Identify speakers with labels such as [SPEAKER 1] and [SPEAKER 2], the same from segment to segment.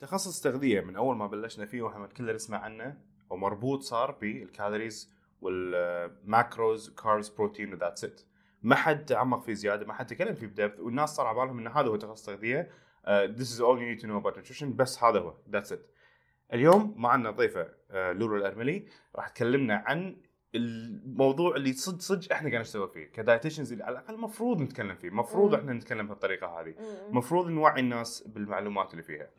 [SPEAKER 1] تخصص تغذيه من اول ما بلشنا فيه واحنا كلنا نسمع عنه ومربوط صار بالكالوريز والماكروز كاربز بروتين وذاتس ات ما حد تعمق فيه زياده ما حد تكلم فيه بدبث والناس صار على بالهم ان هذا هو تخصص Uh, تغذيه ذس از اول يو نيد تو نو اباوت نيوتريشن بس هذا هو ذاتس ات اليوم معنا ضيفه آه، لورا الارملي راح تكلمنا عن الموضوع اللي صدق صدق احنا قاعد نشتغل فيه كدايتيشنز اللي على الاقل المفروض نتكلم فيه المفروض
[SPEAKER 2] مم.
[SPEAKER 1] احنا نتكلم بهالطريقه هذه
[SPEAKER 2] مم.
[SPEAKER 1] المفروض نوعي الناس بالمعلومات اللي فيها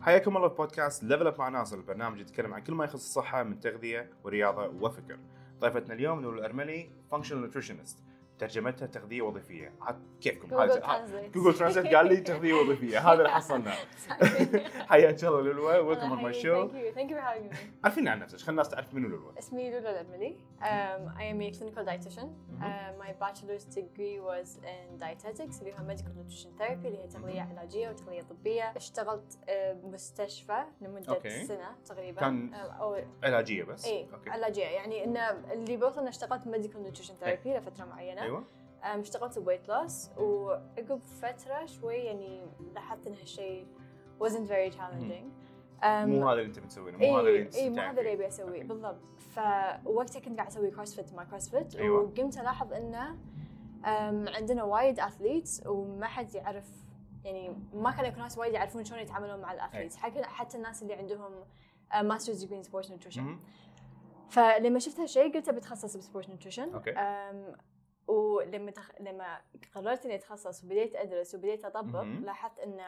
[SPEAKER 1] حياكم الله في بودكاست ليفل اب مع ناصر البرنامج يتكلم عن كل ما يخص الصحه من تغذيه ورياضه وفكر ضيفتنا اليوم نور الارملي فانكشنال نوتريشنست ترجمتها تغذيه وظيفيه عاد كيفكم
[SPEAKER 2] جوجل
[SPEAKER 1] هذا- ها-
[SPEAKER 2] ترانزليت
[SPEAKER 1] جوجل ترانزليت قال لي تغذيه وظيفيه هذا اللي حصلناه حياك الله لولو ويلكم اون ماي شو
[SPEAKER 2] Thank you for having me.
[SPEAKER 1] عارفين عن نفسك خلينا الناس تعرف منو لولو
[SPEAKER 2] اسمي لولا الأرملي. Um, I am a clinical dietitian.
[SPEAKER 1] Mm-hmm.
[SPEAKER 2] Uh, my bachelor's degree was in dietetics اللي هو medical nutrition therapy اللي
[SPEAKER 1] Mm-hmm.
[SPEAKER 2] هي تغذية علاجية وتغذية طبية. اشتغلت uh, بمستشفى لمدة
[SPEAKER 1] أوكي.
[SPEAKER 2] سنة تقريبا.
[SPEAKER 1] كان-
[SPEAKER 2] Um, أو
[SPEAKER 1] علاجيه بس
[SPEAKER 2] اي
[SPEAKER 1] اوكي
[SPEAKER 2] علاجية يعني انه اللي بوصل اني اشتغلت ميديكال نيوتريشن
[SPEAKER 1] إيه.
[SPEAKER 2] ثيرابي لفترة معينة.
[SPEAKER 1] ايوه
[SPEAKER 2] أم، اشتغلت بويت لوس وعقب فترة شوي يعني لاحظت ان هالشيء wasn't very challenging. أم،
[SPEAKER 1] مو هذا اللي انت بتسوينه مو هذا اللي
[SPEAKER 2] اي
[SPEAKER 1] انت
[SPEAKER 2] اي مو
[SPEAKER 1] تستمتعين
[SPEAKER 2] هذا اللي
[SPEAKER 1] فيه.
[SPEAKER 2] ابي اسويه
[SPEAKER 1] أوكي.
[SPEAKER 2] بالضبط فوقتها كنت قاعد اسوي كروسفيت مع كروسفيت
[SPEAKER 1] أيوة.
[SPEAKER 2] وقمت الاحظ انه أم، عندنا وايد اثليتس وما حد يعرف يعني ما كان يكون ناس وايد يعرفون شلون يتعاملون مع
[SPEAKER 1] أيوة.
[SPEAKER 2] الاثليتس حتى حتى الناس اللي عندهم آه، ماسترز ديجري ان سبورتس نيوتريشن
[SPEAKER 1] مهم.
[SPEAKER 2] فلما شفت هالشيء قلت بتخصص بسبورت نيوتريشن
[SPEAKER 1] أوكي.
[SPEAKER 2] أم، ولما تخ... لما قررت اني اتخصص وبديت ادرس وبديت اطبق
[SPEAKER 1] مهم.
[SPEAKER 2] لاحظت ان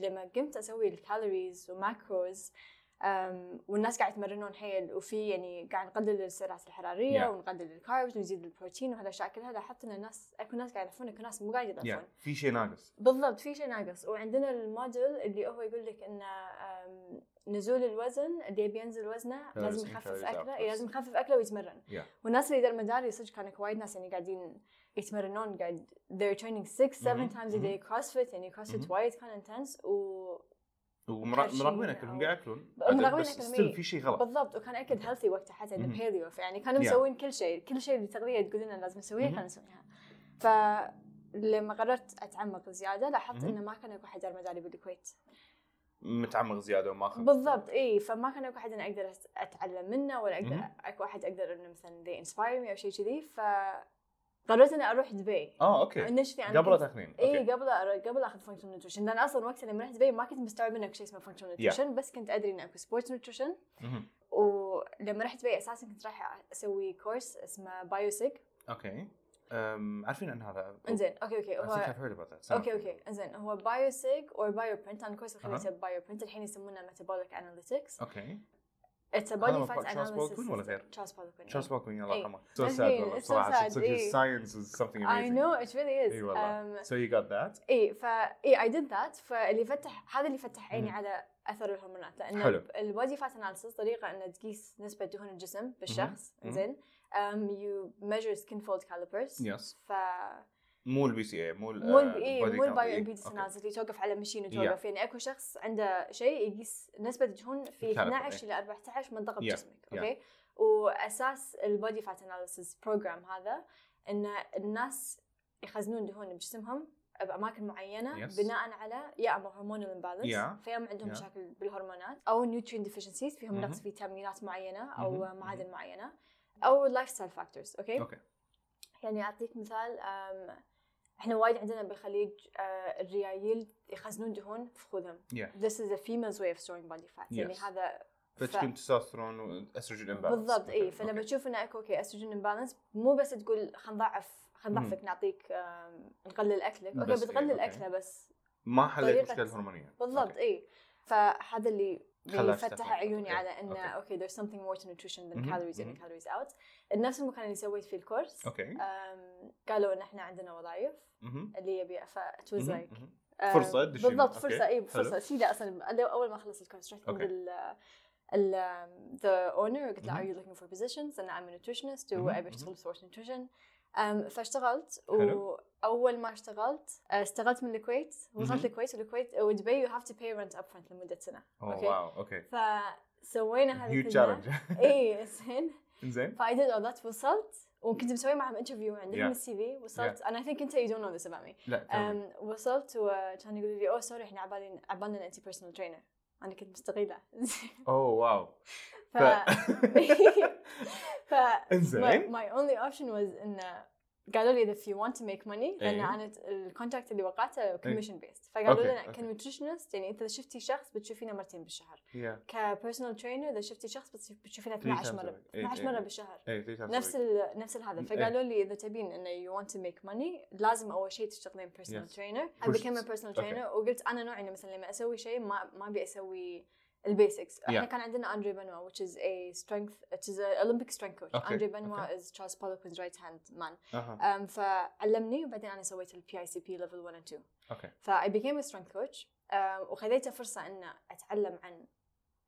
[SPEAKER 2] لما قمت اسوي الكالوريز وماكروز أم، والناس قاعد يتمرنون حيل وفي يعني قاعد نقلل السعرات الحراريه
[SPEAKER 1] Yeah.
[SPEAKER 2] ونقلل الكاربز ونزيد البروتين وهالاشياء كلها لاحظت ان الناس اكو ناس قاعد يضعفون اكو ناس مو قاعد يضعفون
[SPEAKER 1] يا في شيء ناقص
[SPEAKER 2] بالضبط في شيء ناقص وعندنا الموديل اللي هو يقول لك انه أم، نزول الوزن اللي يبي ينزل وزنه
[SPEAKER 1] لازم
[SPEAKER 2] لازم يخفف
[SPEAKER 1] calories
[SPEAKER 2] اكله
[SPEAKER 1] outputs.
[SPEAKER 2] إيه، لازم يخفف اكله ويتمرن
[SPEAKER 1] Yeah.
[SPEAKER 2] والناس اللي دار مداري صدق كان اكو وايد ناس يعني قاعدين يتمرنون قاعد they're training 6 7
[SPEAKER 1] مهم،
[SPEAKER 2] times a day crossfit يعني crossfit
[SPEAKER 1] مهم.
[SPEAKER 2] وايد كان intense و خشن
[SPEAKER 1] ومراقبين اكلهم
[SPEAKER 2] أو-
[SPEAKER 1] قاعد ياكلون
[SPEAKER 2] مراقبين
[SPEAKER 1] بس
[SPEAKER 2] أكلهم،
[SPEAKER 1] still
[SPEAKER 2] إي.
[SPEAKER 1] في شيء غلط
[SPEAKER 2] بالضبط وكان اكل هيلثي وقتها حتى
[SPEAKER 1] مهم.
[SPEAKER 2] البيليو يعني كانوا
[SPEAKER 1] Mm-hmm. Yeah. Mm-hmm.
[SPEAKER 2] مسوين كل شيء كل شيء اللي تغذيه تقول لنا لازم نسويه
[SPEAKER 1] مهم.
[SPEAKER 2] كانوا نسويها فلما قررت اتعمق زياده لاحظت
[SPEAKER 1] مهم.
[SPEAKER 2] انه ما كان اكو حد دار مداري بالكويت
[SPEAKER 1] متعمق زياده وماخذ
[SPEAKER 2] بالضبط اي فما كان اكو احد انا اقدر أت- اتعلم منه ولا اقدر
[SPEAKER 1] مهم.
[SPEAKER 2] اكو احد اقدر انه مثلا they inspire me او شيء كذي فقررت اني اروح دبي
[SPEAKER 1] اه اوكي
[SPEAKER 2] انشلي انا
[SPEAKER 1] قبل تاخذين
[SPEAKER 2] اي إيه، قبل أر- قبل اخذ فانكشن نيوتريشن لان اصلا وقتها لما رحت دبي ما كنت مستوعب انه اكو شيء اسمه فانكشن نيوتريشن بس كنت ادري انه اكو سبورتس نيوتريشن
[SPEAKER 1] مهم.
[SPEAKER 2] ولما رحت دبي اساسا كنت رايحه اسوي كورس اسمه بايوسيك
[SPEAKER 1] اوكي أم، عارفين عن هذا
[SPEAKER 2] انزين اوكي اوكي
[SPEAKER 1] I think
[SPEAKER 2] هو
[SPEAKER 1] I've heard about that.
[SPEAKER 2] اوكي اوكي انزين هو بايوسيك اور بايو برنت انا كورس خليته بايو برنت الحين يسمونه ميتابوليك اناليتكس
[SPEAKER 1] اوكي
[SPEAKER 2] اتس
[SPEAKER 1] هذا
[SPEAKER 2] بودي
[SPEAKER 1] مفروض
[SPEAKER 2] فات
[SPEAKER 1] تشارلز بولكوين ولا
[SPEAKER 2] اناليسيس
[SPEAKER 1] غير؟
[SPEAKER 2] تشارلز بولكوين
[SPEAKER 1] Charles Baldwin الله
[SPEAKER 2] إي.
[SPEAKER 1] يرحمه. So
[SPEAKER 2] بس
[SPEAKER 1] sad
[SPEAKER 2] إي،
[SPEAKER 1] والله
[SPEAKER 2] it's so
[SPEAKER 1] صراحة.
[SPEAKER 2] sad،
[SPEAKER 1] Such a
[SPEAKER 2] إي.
[SPEAKER 1] science is something
[SPEAKER 2] I
[SPEAKER 1] amazing.
[SPEAKER 2] know it really is
[SPEAKER 1] إي والله.
[SPEAKER 2] Um,
[SPEAKER 1] So you got that.
[SPEAKER 2] اي فا اي اي ديد ذات فاللي فتح هذا اللي فتح عيني
[SPEAKER 1] مم.
[SPEAKER 2] على اثر الهرمونات لان
[SPEAKER 1] حلو.
[SPEAKER 2] البودي فات اناليسيس طريقه ان تقيس نسبه دهون الجسم بالشخص
[SPEAKER 1] مم.
[SPEAKER 2] زين Um, يو ميجر سكين فولد كاليبرز
[SPEAKER 1] Yes.
[SPEAKER 2] ف
[SPEAKER 1] مو البي سي اي مو ال
[SPEAKER 2] مو
[SPEAKER 1] آه،
[SPEAKER 2] اي
[SPEAKER 1] body
[SPEAKER 2] مو
[SPEAKER 1] count.
[SPEAKER 2] البايو
[SPEAKER 1] إي.
[SPEAKER 2] امبيدنس
[SPEAKER 1] أوكي.
[SPEAKER 2] اناليسيس اللي توقف على مشين وتوقف يعني اكو شخص عنده شيء يقيس نسبه دهون في
[SPEAKER 1] الكالوري،
[SPEAKER 2] 12 الى 14 منطقه
[SPEAKER 1] إيه. Yeah.
[SPEAKER 2] بجسمك اوكي واساس البودي فات اناليسيس بروجرام هذا ان الناس يخزنون دهون بجسمهم باماكن معينه
[SPEAKER 1] Yes.
[SPEAKER 2] بناء على يا اما هرمونال امبالانس
[SPEAKER 1] Yeah.
[SPEAKER 2] فيا اما عندهم
[SPEAKER 1] Yeah. Mm-hmm.
[SPEAKER 2] مشاكل بالهرمونات او نيوترين ديفشنسيز فيهم
[SPEAKER 1] مهم.
[SPEAKER 2] نقص فيتامينات معينه او
[SPEAKER 1] مهم.
[SPEAKER 2] معادن معينه او لايف ستايل فاكتورز اوكي
[SPEAKER 1] أوكي.
[SPEAKER 2] يعني اعطيك مثال أم، احنا وايد عندنا بالخليج آه، الريايل يخزنون دهون في خوذهم.
[SPEAKER 1] Yeah.
[SPEAKER 2] This is a female's way of storing body fat. يعني
[SPEAKER 1] Yes.
[SPEAKER 2] هذا
[SPEAKER 1] فتكون تستوستيرون واستروجين امبالانس
[SPEAKER 2] بالضبط اي فلما تشوف انه اكو اوكي استروجين امبالانس مو بس تقول خنضعف خنضعفك نعطيك آم، نقلل اكلك اوكي
[SPEAKER 1] بس إيه،
[SPEAKER 2] بتقلل
[SPEAKER 1] أوكي.
[SPEAKER 2] اكله بس
[SPEAKER 1] ما حلت
[SPEAKER 2] طريقة-
[SPEAKER 1] المشكله الهرمونيه
[SPEAKER 2] بالضبط
[SPEAKER 1] أوكي.
[SPEAKER 2] اي فهذا اللي
[SPEAKER 1] خلاك
[SPEAKER 2] يعني فتح
[SPEAKER 1] تفهم.
[SPEAKER 2] عيوني
[SPEAKER 1] أوكي.
[SPEAKER 2] على انه
[SPEAKER 1] أوكي.
[SPEAKER 2] اوكي there's something more to nutrition than
[SPEAKER 1] مهم.
[SPEAKER 2] calories in
[SPEAKER 1] مهم.
[SPEAKER 2] and calories out نفس المكان اللي سويت فيه الكورس
[SPEAKER 1] اوكي
[SPEAKER 2] آم، قالوا ان احنا عندنا وظائف
[SPEAKER 1] مهم.
[SPEAKER 2] اللي يبي فات واز
[SPEAKER 1] مهم.
[SPEAKER 2] لايك
[SPEAKER 1] مهم.
[SPEAKER 2] آه،
[SPEAKER 1] فرصة تدش فيها.
[SPEAKER 2] بالضبط إيه،
[SPEAKER 1] أوكي،
[SPEAKER 2] فرصه اي فرصه
[SPEAKER 1] حلو.
[SPEAKER 2] سيدا اصلا أنا اول ما خلصت الكورس رحت عند
[SPEAKER 1] أوكي.
[SPEAKER 2] ال ال ذا اونر قلت له ار
[SPEAKER 1] مهم.
[SPEAKER 2] يو لوكينج فور بوزيشنز انا ام نيوتريشنست
[SPEAKER 1] مهم،
[SPEAKER 2] وابي
[SPEAKER 1] مهم.
[SPEAKER 2] اشتغل بسورس نيوتريشن Um, فاشتغلت
[SPEAKER 1] حلو.
[SPEAKER 2] واول ما اشتغلت آه، اشتغلت من الكويت وصلت
[SPEAKER 1] مهم.
[SPEAKER 2] الكويت والكويت ودبي يو هاف تو باي رنت اب فرونت لمده سنه
[SPEAKER 1] اوه
[SPEAKER 2] أوكي.
[SPEAKER 1] واو اوكي
[SPEAKER 2] فسوينا هذا
[SPEAKER 1] هيو
[SPEAKER 2] كله
[SPEAKER 1] تشالنج
[SPEAKER 2] اي زين
[SPEAKER 1] زين
[SPEAKER 2] فاي ديد اول ذات وصلت وكنت مسوي معهم انترفيو عندهم
[SPEAKER 1] Yeah.
[SPEAKER 2] السي في وصلت انا ثينك انت يو دونت نو ذس اباوت مي
[SPEAKER 1] لا تمام.
[SPEAKER 2] وصلت وكان يقولوا لي اوه سوري احنا عبالي عبالنا انت بيرسونال ترينر انا كنت مستغله
[SPEAKER 1] اوه واو
[SPEAKER 2] ف ف
[SPEAKER 1] انزين
[SPEAKER 2] ماي اونلي اوبشن واز انه قالوا لي if you want to make money لان
[SPEAKER 1] إيه.
[SPEAKER 2] انا الكونتراكت اللي وقعته كوميشن بيست
[SPEAKER 1] أوكي،
[SPEAKER 2] فقالوا لنا
[SPEAKER 1] أوكي.
[SPEAKER 2] كنيوتريشنست يعني انت اذا شفتي شخص بتشوفينه مرتين بالشهر
[SPEAKER 1] يا.
[SPEAKER 2] كبيرسونال ترينر اذا شفتي شخص بتصير- بتشوفينه 12
[SPEAKER 1] times a
[SPEAKER 2] مره
[SPEAKER 1] week. إيه،
[SPEAKER 2] 12
[SPEAKER 1] إيه.
[SPEAKER 2] مره بالشهر
[SPEAKER 1] اي three times a
[SPEAKER 2] نفس
[SPEAKER 1] week.
[SPEAKER 2] ال نفس هذا
[SPEAKER 1] إيه.
[SPEAKER 2] فقالوا لي اذا تبين انه يو ونت تو ميك ماني لازم اول شيء تشتغلين بيرسونال
[SPEAKER 1] Yes.
[SPEAKER 2] ترينر اي
[SPEAKER 1] Pushed.
[SPEAKER 2] بيكم بيرسونال ترينر وقلت انا نوعي إنه مثلا لما اسوي شيء ما ما ابي اسوي البيسكس احنا
[SPEAKER 1] Yeah.
[SPEAKER 2] كان عندنا اندري بنوا which is a strength which is an Olympic strength coach
[SPEAKER 1] Okay.
[SPEAKER 2] اندري بنوا is Charles Poliquin's right hand man
[SPEAKER 1] اها
[SPEAKER 2] um, فعلمني وبعدين انا سويت البي اي سي بي ليفل 1 and 2
[SPEAKER 1] اوكي
[SPEAKER 2] فاي became a strength coach um, وخذيت فرصه ان اتعلم عن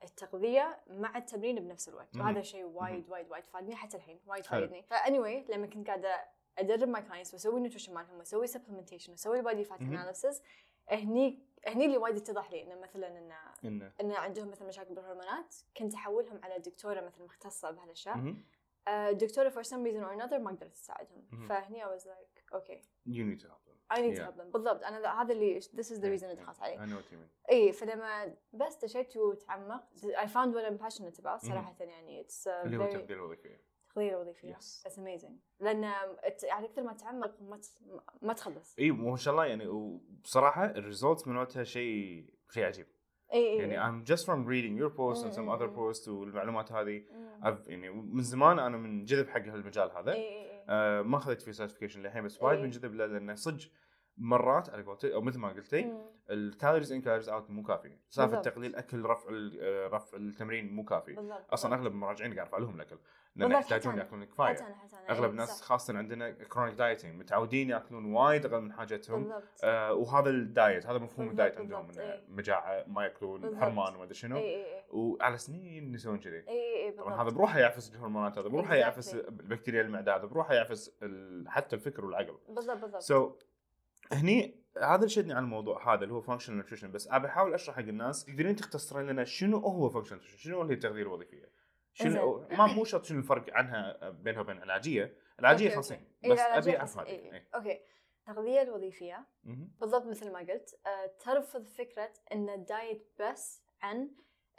[SPEAKER 2] التغذيه مع التمرين بنفس الوقت
[SPEAKER 1] مم.
[SPEAKER 2] وهذا شيء وايد وايد وايد فادني حتى الحين وايد فادني فاني anyway, لما كنت قاعده ادرب ماي كلاينتس واسوي نوتريشن مالهم واسوي سبلمنتيشن واسوي البادي فات
[SPEAKER 1] مم.
[SPEAKER 2] اناليسيس هني هني اللي وايد اتضح لي انه مثلا انه
[SPEAKER 1] انه
[SPEAKER 2] انه عندهم مثلا مشاكل بالهرمونات كنت احولهم على دكتوره مثلا مختصه بهالاشياء
[SPEAKER 1] مهم.
[SPEAKER 2] آه، الدكتوره for some reason or another ما قدرت تساعدهم
[SPEAKER 1] مم.
[SPEAKER 2] فهني I was like okay
[SPEAKER 1] you need to help them
[SPEAKER 2] I need to
[SPEAKER 1] Yeah.
[SPEAKER 2] help them بالضبط انا ذا- هذا اللي this is the
[SPEAKER 1] Yeah,
[SPEAKER 2] reason اللي
[SPEAKER 1] yeah.
[SPEAKER 2] دخلت عليه
[SPEAKER 1] I know what you mean
[SPEAKER 2] اي إيه، فلما بس دشيت وتعمقت I found what I'm passionate about صراحة يعني it's a
[SPEAKER 1] اللي هو
[SPEAKER 2] very
[SPEAKER 1] تبديل وظيفي
[SPEAKER 2] تغيير وظيفي
[SPEAKER 1] Yes.
[SPEAKER 2] it's amazing لأن ات- يعني أكثر ما تعمق ما ت- ما تخلص
[SPEAKER 1] اي ما شاء الله يعني وبصراحه الريزولتس مالتها شيء شيء عجيب
[SPEAKER 2] اي
[SPEAKER 1] يعني
[SPEAKER 2] اي
[SPEAKER 1] I'm just from reading your post and some
[SPEAKER 2] مم.
[SPEAKER 1] other post والمعلومات هذه
[SPEAKER 2] مم. إيه،
[SPEAKER 1] I've يعني من زمان انا منجذب حق هالمجال هذا
[SPEAKER 2] اي اي اي
[SPEAKER 1] آه، ما اخذت فيه سيرتيفيكيشن للحين بس وايد
[SPEAKER 2] إيه.
[SPEAKER 1] منجذب له لانه صدق مرات على قولتي او مثل ما قلتي
[SPEAKER 2] مم.
[SPEAKER 1] الكالوريز ان كالوريز اوت مو كافي سالفه
[SPEAKER 2] بالضبط.
[SPEAKER 1] تقليل اكل رفع ال- آه، رفع التمرين مو كافي
[SPEAKER 2] بالضبط
[SPEAKER 1] اصلا اغلب المراجعين قاعد ارفع لهم الاكل لان
[SPEAKER 2] بالضبط، حتى
[SPEAKER 1] يحتاجون
[SPEAKER 2] أنا.
[SPEAKER 1] ياكلون
[SPEAKER 2] حتى
[SPEAKER 1] كفايه
[SPEAKER 2] أنا حتى أنا إي،
[SPEAKER 1] اغلب الناس
[SPEAKER 2] إيه، صح.
[SPEAKER 1] خاصه عندنا كرونيك دايتنج متعودين ياكلون وايد اقل من حاجتهم
[SPEAKER 2] بالضبط
[SPEAKER 1] آه وهذا الدايت هذا مفهوم
[SPEAKER 2] بالضبط،
[SPEAKER 1] الدايت عندهم
[SPEAKER 2] بالضبط،
[SPEAKER 1] انه
[SPEAKER 2] إيه.
[SPEAKER 1] مجاعه ما ياكلون
[SPEAKER 2] بالضبط. إيه.
[SPEAKER 1] حرمان وما ادري شنو
[SPEAKER 2] اي اي
[SPEAKER 1] وعلى سنين يسوون كذي
[SPEAKER 2] اي اي اي
[SPEAKER 1] طبعا هذا
[SPEAKER 2] إيه، بالضبط
[SPEAKER 1] بروحه يعفس الهرمونات هذا بروحه
[SPEAKER 2] إيه، Exactly.
[SPEAKER 1] يعفس البكتيريا المعده هذا بروحه يعفس ال- حتى الفكر والعقل
[SPEAKER 2] بالضبط بالضبط
[SPEAKER 1] سو so, هني هذا اللي شدني على الموضوع هذا اللي هو فانكشنال نيوتريشن بس ابي احاول اشرح حق الناس تقدرين تختصرين لنا شنو هو فانكشنال نيوتريشن شنو هي التغذيه الوظيفيه شنو ما مو شرط شنو الفرق عنها بينها وبين العلاجيه العلاجيه
[SPEAKER 2] أوكي، أوكي.
[SPEAKER 1] خاصين
[SPEAKER 2] إي،
[SPEAKER 1] بس
[SPEAKER 2] إيه، لا، إيه، لا،
[SPEAKER 1] ابي
[SPEAKER 2] جاهز.
[SPEAKER 1] اعرف هذه
[SPEAKER 2] إي، إي.
[SPEAKER 1] إي.
[SPEAKER 2] اوكي التغذيه الوظيفيه
[SPEAKER 1] إيه. مهم.
[SPEAKER 2] بالضبط مثل ما قلت آه، ترفض فكرة أن الدايت بس عن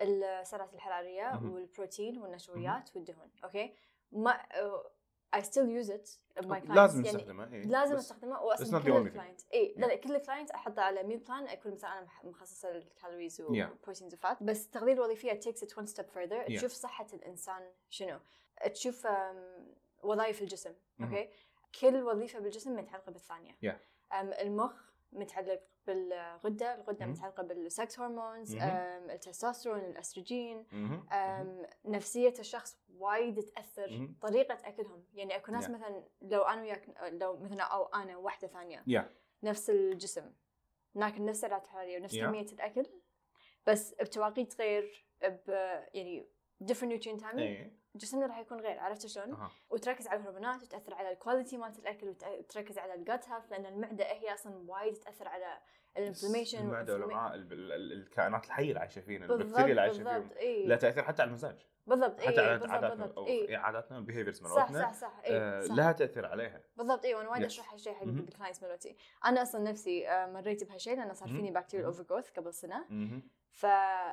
[SPEAKER 2] السعرات الحرارية
[SPEAKER 1] مهم.
[SPEAKER 2] والبروتين والنشويات والدهون أوكي ما آه، I still use it in my clients
[SPEAKER 1] لازم
[SPEAKER 2] يعني
[SPEAKER 1] نستخدمها إي.
[SPEAKER 2] لازم
[SPEAKER 1] إيه. بس-
[SPEAKER 2] استخدمه
[SPEAKER 1] it's not
[SPEAKER 2] واصلا
[SPEAKER 1] the
[SPEAKER 2] كل
[SPEAKER 1] only thing.
[SPEAKER 2] الكلاينت اي لا
[SPEAKER 1] Yeah.
[SPEAKER 2] لا كل الكلاينت احطه على ميل بلان اكون مثلا انا مح- مخصصه للكالوريز
[SPEAKER 1] Yeah.
[SPEAKER 2] والبروتينز وفات بس التغذيه الوظيفيه takes it one step further
[SPEAKER 1] Yeah.
[SPEAKER 2] تشوف صحه الانسان شنو تشوف أم، وظائف الجسم
[SPEAKER 1] مهم.
[SPEAKER 2] اوكي كل وظيفه بالجسم متعلقه بالثانيه
[SPEAKER 1] Yeah.
[SPEAKER 2] أم، المخ متعلق بالغده الغده
[SPEAKER 1] مهم.
[SPEAKER 2] متعلقه بالسكس هرمونز
[SPEAKER 1] مهم.
[SPEAKER 2] التستوستيرون الاستروجين
[SPEAKER 1] مهم. مهم.
[SPEAKER 2] أم، نفسية الشخص وايد تأثر
[SPEAKER 1] مهم.
[SPEAKER 2] طريقة أكلهم يعني أكو ناس
[SPEAKER 1] Yeah.
[SPEAKER 2] مثلا لو أنا وياك لو مثلا أو أنا وواحدة ثانية
[SPEAKER 1] Yeah.
[SPEAKER 2] نفس الجسم ناكل نفس السعرات الحرارية ونفس
[SPEAKER 1] Yeah.
[SPEAKER 2] كمية الأكل بس بتواقيت غير ب يعني different nutrient timing
[SPEAKER 1] إي.
[SPEAKER 2] جسمنا راح يكون غير عرفت شلون؟
[SPEAKER 1] إيه. أها.
[SPEAKER 2] وتركز على الهرمونات وتأثر على الكواليتي مالت الأكل وت- وتركز على الجت هيلث لأن المعدة هي أصلا وايد تأثر على الانفلاميشن
[SPEAKER 1] المعده والامعاء ال- ال- ال- الكائنات الحيه اللي عايشه فينا
[SPEAKER 2] بالضبط
[SPEAKER 1] البكتيريا اللي عايشه فيهم
[SPEAKER 2] بالضبط إي.
[SPEAKER 1] لا تاثير حتى على المزاج
[SPEAKER 2] بالضبط اي
[SPEAKER 1] حتى على
[SPEAKER 2] إيه. بالضبط
[SPEAKER 1] عاداتنا
[SPEAKER 2] بالضبط.
[SPEAKER 1] او
[SPEAKER 2] إي.
[SPEAKER 1] إيه، عاداتنا والبيهيفيرز
[SPEAKER 2] صح
[SPEAKER 1] مالتنا
[SPEAKER 2] صح صح
[SPEAKER 1] آه،
[SPEAKER 2] اي صح
[SPEAKER 1] لها تاثير عليها
[SPEAKER 2] بالضبط اي وانا وايد
[SPEAKER 1] Yes.
[SPEAKER 2] اشرح هالشيء حق
[SPEAKER 1] مهم.
[SPEAKER 2] الكلاينتس مالتي انا اصلا نفسي آه، مريت بهالشيء لان صار
[SPEAKER 1] مهم.
[SPEAKER 2] فيني بكتيريا
[SPEAKER 1] مهم.
[SPEAKER 2] اوفر جروث قبل سنه
[SPEAKER 1] مهم.
[SPEAKER 2] ف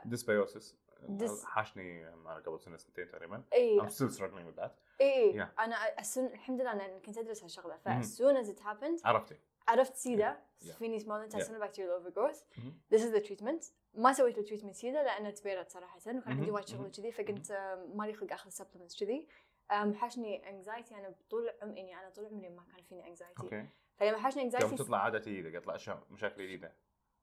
[SPEAKER 1] ديسبيوسس
[SPEAKER 2] Dys- إيه.
[SPEAKER 1] حاشني انا قبل سنه سنتين تقريبا
[SPEAKER 2] اي
[SPEAKER 1] I'm still struggling with that
[SPEAKER 2] اي اي
[SPEAKER 1] Yeah.
[SPEAKER 2] انا إيه، أسون... الحمد لله انا كنت ادرس هالشغله
[SPEAKER 1] مهم.
[SPEAKER 2] فas soon as it happened
[SPEAKER 1] عرفتي
[SPEAKER 2] عرفت سيدا
[SPEAKER 1] Yeah.
[SPEAKER 2] فيني سمول
[SPEAKER 1] Yeah.
[SPEAKER 2] intestinal bacterial overgrowth
[SPEAKER 1] مهم.
[SPEAKER 2] this is the treatment ما سويت التريتمنت سيدا لانه تبيرت صراحه وكان عندي
[SPEAKER 1] مهم.
[SPEAKER 2] وايد شغل
[SPEAKER 1] مهم.
[SPEAKER 2] كذي فكنت آم، مالي خلق اخذ سبلمنتس كذي آه، آم، حاشني انكزايتي انا طول عمري يعني انا طول عمري ما كان فيني انكزايتي
[SPEAKER 1] اوكي
[SPEAKER 2] فلما حاشني
[SPEAKER 1] قام
[SPEAKER 2] انكزايتي
[SPEAKER 1] تطلع عاده جديده قاعد تطلع اشياء مشاكل جديده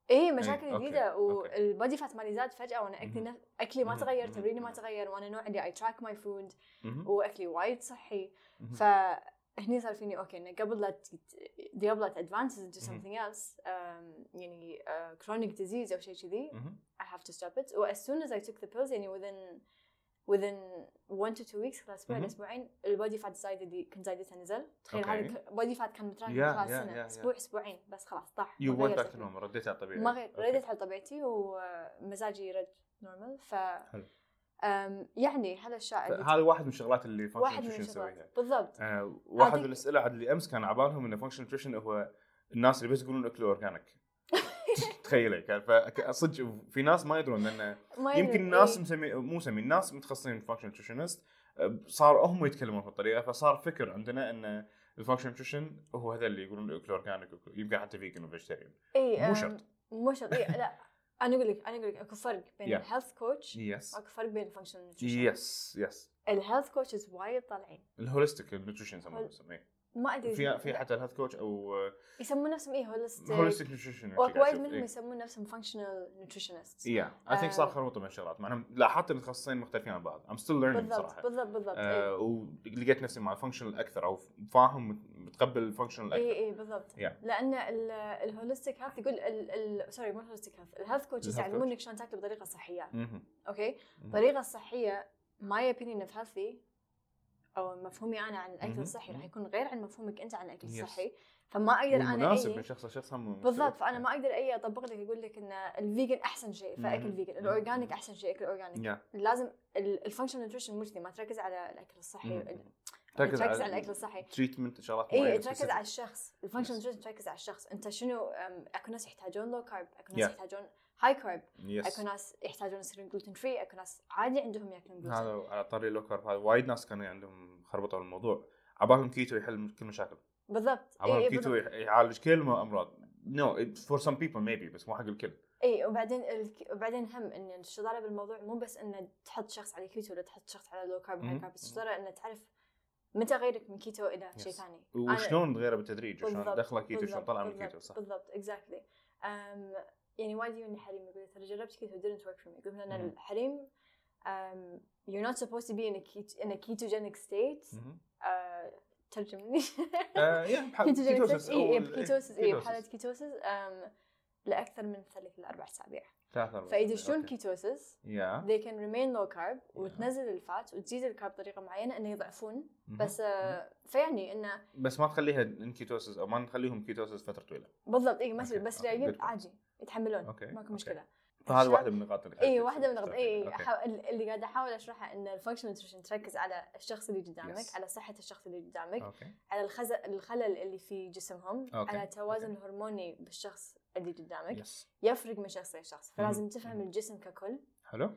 [SPEAKER 2] ايه مشاكل
[SPEAKER 1] إيه، أوكي،
[SPEAKER 2] جديده
[SPEAKER 1] أوكي.
[SPEAKER 2] والبادي فات مالي زاد فجاه وانا اكلي
[SPEAKER 1] مهم.
[SPEAKER 2] نف... اكلي ما
[SPEAKER 1] مهم،
[SPEAKER 2] تغير
[SPEAKER 1] مهم،
[SPEAKER 2] تمريني ما
[SPEAKER 1] مهم.
[SPEAKER 2] تغير وانا نوع اللي اي تراك ماي فود
[SPEAKER 1] مهم.
[SPEAKER 2] واكلي وايد صحي
[SPEAKER 1] مهم.
[SPEAKER 2] فهني صار فيني اوكي انه قبل لا ت- قبل لا ادفانس انتو
[SPEAKER 1] مهم.
[SPEAKER 2] something else um, يعني كرونيك ديزيز او شيء كذي
[SPEAKER 1] مهم.
[SPEAKER 2] I have to stop it و as soon as I took the pills يعني within within one to two weeks خلال اسبوع
[SPEAKER 1] مهم.
[SPEAKER 2] الاسبوعين البادي فات زايد اللي كنت زايدتها نزل تخيل
[SPEAKER 1] أوكي.
[SPEAKER 2] هذا البادي فات كان متراكم
[SPEAKER 1] Yeah,
[SPEAKER 2] خلال
[SPEAKER 1] yeah, yeah,
[SPEAKER 2] سنه
[SPEAKER 1] yeah.
[SPEAKER 2] اسبوع اسبوعين بس خلاص طاح
[SPEAKER 1] You
[SPEAKER 2] ما
[SPEAKER 1] went
[SPEAKER 2] غير
[SPEAKER 1] back to
[SPEAKER 2] شكلي.
[SPEAKER 1] normal إيه؟ رديت على الطبيعي
[SPEAKER 2] ما غير
[SPEAKER 1] أوكي.
[SPEAKER 2] رديت على طبيعتي ومزاجي رد نورمال ف
[SPEAKER 1] حلو.
[SPEAKER 2] أم، يعني هالاشياء اللي
[SPEAKER 1] هذا واحد من الشغلات اللي
[SPEAKER 2] واحد
[SPEAKER 1] فانكشن
[SPEAKER 2] من
[SPEAKER 1] نيوتريشن
[SPEAKER 2] الشغلات
[SPEAKER 1] يسويها
[SPEAKER 2] بالضبط
[SPEAKER 1] آه، واحد
[SPEAKER 2] أعطيك-
[SPEAKER 1] من الاسئله عاد اللي امس كان عبالهم ان فانكشن نيوتريشن هو الناس اللي بس يقولون اكلوا اورجانيك تخيلي كان فصدق في ناس ما يدرون لان
[SPEAKER 2] ما
[SPEAKER 1] يمكن
[SPEAKER 2] يدري.
[SPEAKER 1] الناس
[SPEAKER 2] إيه.
[SPEAKER 1] مسمي مو مسمي الناس متخصصين فانكشن نيوتريشنست آه، صار هم يتكلمون في الطريقه فصار فكر عندنا ان الفانكشن نيوتريشن هو هذا اللي يقولون اكل اورجانيك يمكن حتى فيجن وفيجيتيريان
[SPEAKER 2] اي
[SPEAKER 1] مو
[SPEAKER 2] إيه، أم،
[SPEAKER 1] شرط.
[SPEAKER 2] مو شرط إي، لا انا اقول لك انا اقول لك اكو فرق بين
[SPEAKER 1] Yeah.
[SPEAKER 2] الهيلث كوتش
[SPEAKER 1] يس
[SPEAKER 2] اكو فرق بين الفانكشنال نيوتريشن
[SPEAKER 1] يس يس
[SPEAKER 2] الهيلث كوتشز وايد طالعين
[SPEAKER 1] الهوليستيك نيوتريشن يسمونه يسميه
[SPEAKER 2] ما ادري
[SPEAKER 1] في في حتى الهيلث كوتش او
[SPEAKER 2] يسمون نفسهم اي هولستيك
[SPEAKER 1] هوليستيك نيوتريشن
[SPEAKER 2] وايد
[SPEAKER 1] إيه.
[SPEAKER 2] منهم يسمون نفسهم فانكشنال نيوتريشنست
[SPEAKER 1] يا اي ثينك
[SPEAKER 2] آه.
[SPEAKER 1] صار خربطه من الشغلات مع انهم لاحظت ان التخصصين مختلفين عن بعض ام ستيل ليرنينج
[SPEAKER 2] بالضبط
[SPEAKER 1] صراحه
[SPEAKER 2] بالضبط بالضبط إيه. اي
[SPEAKER 1] آه، ولقيت نفسي مع الفانكشنال اكثر او فاهم متقبل الفانكشنال اكثر
[SPEAKER 2] اي اي إيه، بالضبط
[SPEAKER 1] Yeah.
[SPEAKER 2] لان ال- الهولستيك هيلث يقول ال- ال- سوري مو الهولستيك هيلث الهيلث كوتشز
[SPEAKER 1] الhealth
[SPEAKER 2] يعلمونك شلون تاكل بطريقه صحيه
[SPEAKER 1] مهم.
[SPEAKER 2] اوكي
[SPEAKER 1] مهم.
[SPEAKER 2] الطريقه الصحيه ماي اوبينيون اوف هيلثي او مفهومي انا عن الاكل
[SPEAKER 1] مهم.
[SPEAKER 2] الصحي راح يكون غير عن مفهومك انت عن الاكل
[SPEAKER 1] Yes.
[SPEAKER 2] الصحي فما اقدر انا
[SPEAKER 1] مناسب
[SPEAKER 2] أي-
[SPEAKER 1] من شخص لشخص هم مختلف.
[SPEAKER 2] إيه. بالضبط فانا ما اقدر اي اطبق لك اقول لك ان الفيجن احسن شيء فاكل
[SPEAKER 1] مهم.
[SPEAKER 2] فيجن
[SPEAKER 1] مهم.
[SPEAKER 2] الاورجانيك احسن شيء اكل اورجانيك
[SPEAKER 1] يا.
[SPEAKER 2] لازم الفانكشن نيوتريشن مو كذي ما تركز على الاكل الصحي
[SPEAKER 1] مم.
[SPEAKER 2] تركز على الاكل الصحي
[SPEAKER 1] تريتمنت شغلات
[SPEAKER 2] اي
[SPEAKER 1] معينة
[SPEAKER 2] إيه، تركز
[SPEAKER 1] specific.
[SPEAKER 2] على الشخص الفانكشن
[SPEAKER 1] Yes.
[SPEAKER 2] نيوتريشن تركز على الشخص انت شنو أم، اكو ناس يحتاجون لو كارب اكو
[SPEAKER 1] Yeah.
[SPEAKER 2] ناس يحتاجون هاي كارب
[SPEAKER 1] يس
[SPEAKER 2] اكو ناس يحتاجون يصيرون جلوتين فري اكو ناس عادي عندهم ياكلون جلوتين
[SPEAKER 1] هذا على طاري اللو كارب هذا وايد ناس كانوا عندهم خربطه بالموضوع عبالهم كيتو يحل كل مشاكل
[SPEAKER 2] بالضبط
[SPEAKER 1] عبالهم
[SPEAKER 2] اي
[SPEAKER 1] كيتو
[SPEAKER 2] إيه، بالضبط.
[SPEAKER 1] يح- يعالج كل م- امراض نو فور سم بيبل ميبي بس مو حق الكل
[SPEAKER 2] اي إيه، وبعدين الك... وبعدين هم ان الشطاره بالموضوع مو بس ان تحط شخص على كيتو ولا تحط شخص على لو كارب هاي
[SPEAKER 1] مهم.
[SPEAKER 2] كارب بس الشطاره ان تعرف متى غيرك من كيتو الى شيء
[SPEAKER 1] Yes.
[SPEAKER 2] ثاني أنا-
[SPEAKER 1] وشلون تغيره بالتدريج وشلون
[SPEAKER 2] بالضبط،
[SPEAKER 1] دخله كيتو شلون
[SPEAKER 2] بالضبط،
[SPEAKER 1] طلع من
[SPEAKER 2] بالضبط،
[SPEAKER 1] كيتو صح
[SPEAKER 2] بالضبط اكزاكتلي يعني وايد يجوني حريم يقول لي ترى جربت كيتو didn't work for me يقول لي
[SPEAKER 1] مم.
[SPEAKER 2] ان الحريم um, you're not supposed to be in a keto in a ketogenic state
[SPEAKER 1] مهم.
[SPEAKER 2] uh, ترجمني
[SPEAKER 1] آه، يا بح-
[SPEAKER 2] ketogenic
[SPEAKER 1] كيتوسس
[SPEAKER 2] state إيه،
[SPEAKER 1] أو
[SPEAKER 2] اي اي
[SPEAKER 1] ال-
[SPEAKER 2] بكيتوسس اي
[SPEAKER 1] كيتوسس.
[SPEAKER 2] بحالة كيتوسس um, لأكثر من ثلاث إلى أربع أسابيع
[SPEAKER 1] ثلاث أربع
[SPEAKER 2] فيدشون
[SPEAKER 1] أوكي. آه.
[SPEAKER 2] كيتوسس
[SPEAKER 1] يا
[SPEAKER 2] they can remain low carb وتنزل الفات وتزيد الكارب بطريقة معينة إنه يضعفون
[SPEAKER 1] مهم.
[SPEAKER 2] بس آه، فيعني إنه
[SPEAKER 1] بس ما تخليها انكيتوسس او ما نخليهم كيتوسس فتره طويله
[SPEAKER 2] بالضبط اي ما
[SPEAKER 1] أوكي،
[SPEAKER 2] يصير بس
[SPEAKER 1] أوكي،
[SPEAKER 2] جايين
[SPEAKER 1] good.
[SPEAKER 2] عادي يتحملون
[SPEAKER 1] أوكي،
[SPEAKER 2] ماكو
[SPEAKER 1] إيه؟ أوكي.
[SPEAKER 2] مشكله
[SPEAKER 1] فهذه
[SPEAKER 2] الشاب-
[SPEAKER 1] واحده من النقاط اللي
[SPEAKER 2] اي واحده إيه، من الغلط اي
[SPEAKER 1] أوكي.
[SPEAKER 2] حا- اللي قاعده احاول اشرحها ان الفانكشن نيوتريشن تركز على الشخص اللي قدامك
[SPEAKER 1] Yes.
[SPEAKER 2] على صحه الشخص اللي قدامك
[SPEAKER 1] اوكي
[SPEAKER 2] على الخز... الخلل اللي في جسمهم
[SPEAKER 1] أوكي،
[SPEAKER 2] على التوازن
[SPEAKER 1] أوكي.
[SPEAKER 2] الهرموني بالشخص اللي قدامك
[SPEAKER 1] يس
[SPEAKER 2] يفرق من شخص لشخص فلازم
[SPEAKER 1] مم.
[SPEAKER 2] تفهم
[SPEAKER 1] مم.
[SPEAKER 2] الجسم ككل
[SPEAKER 1] حلو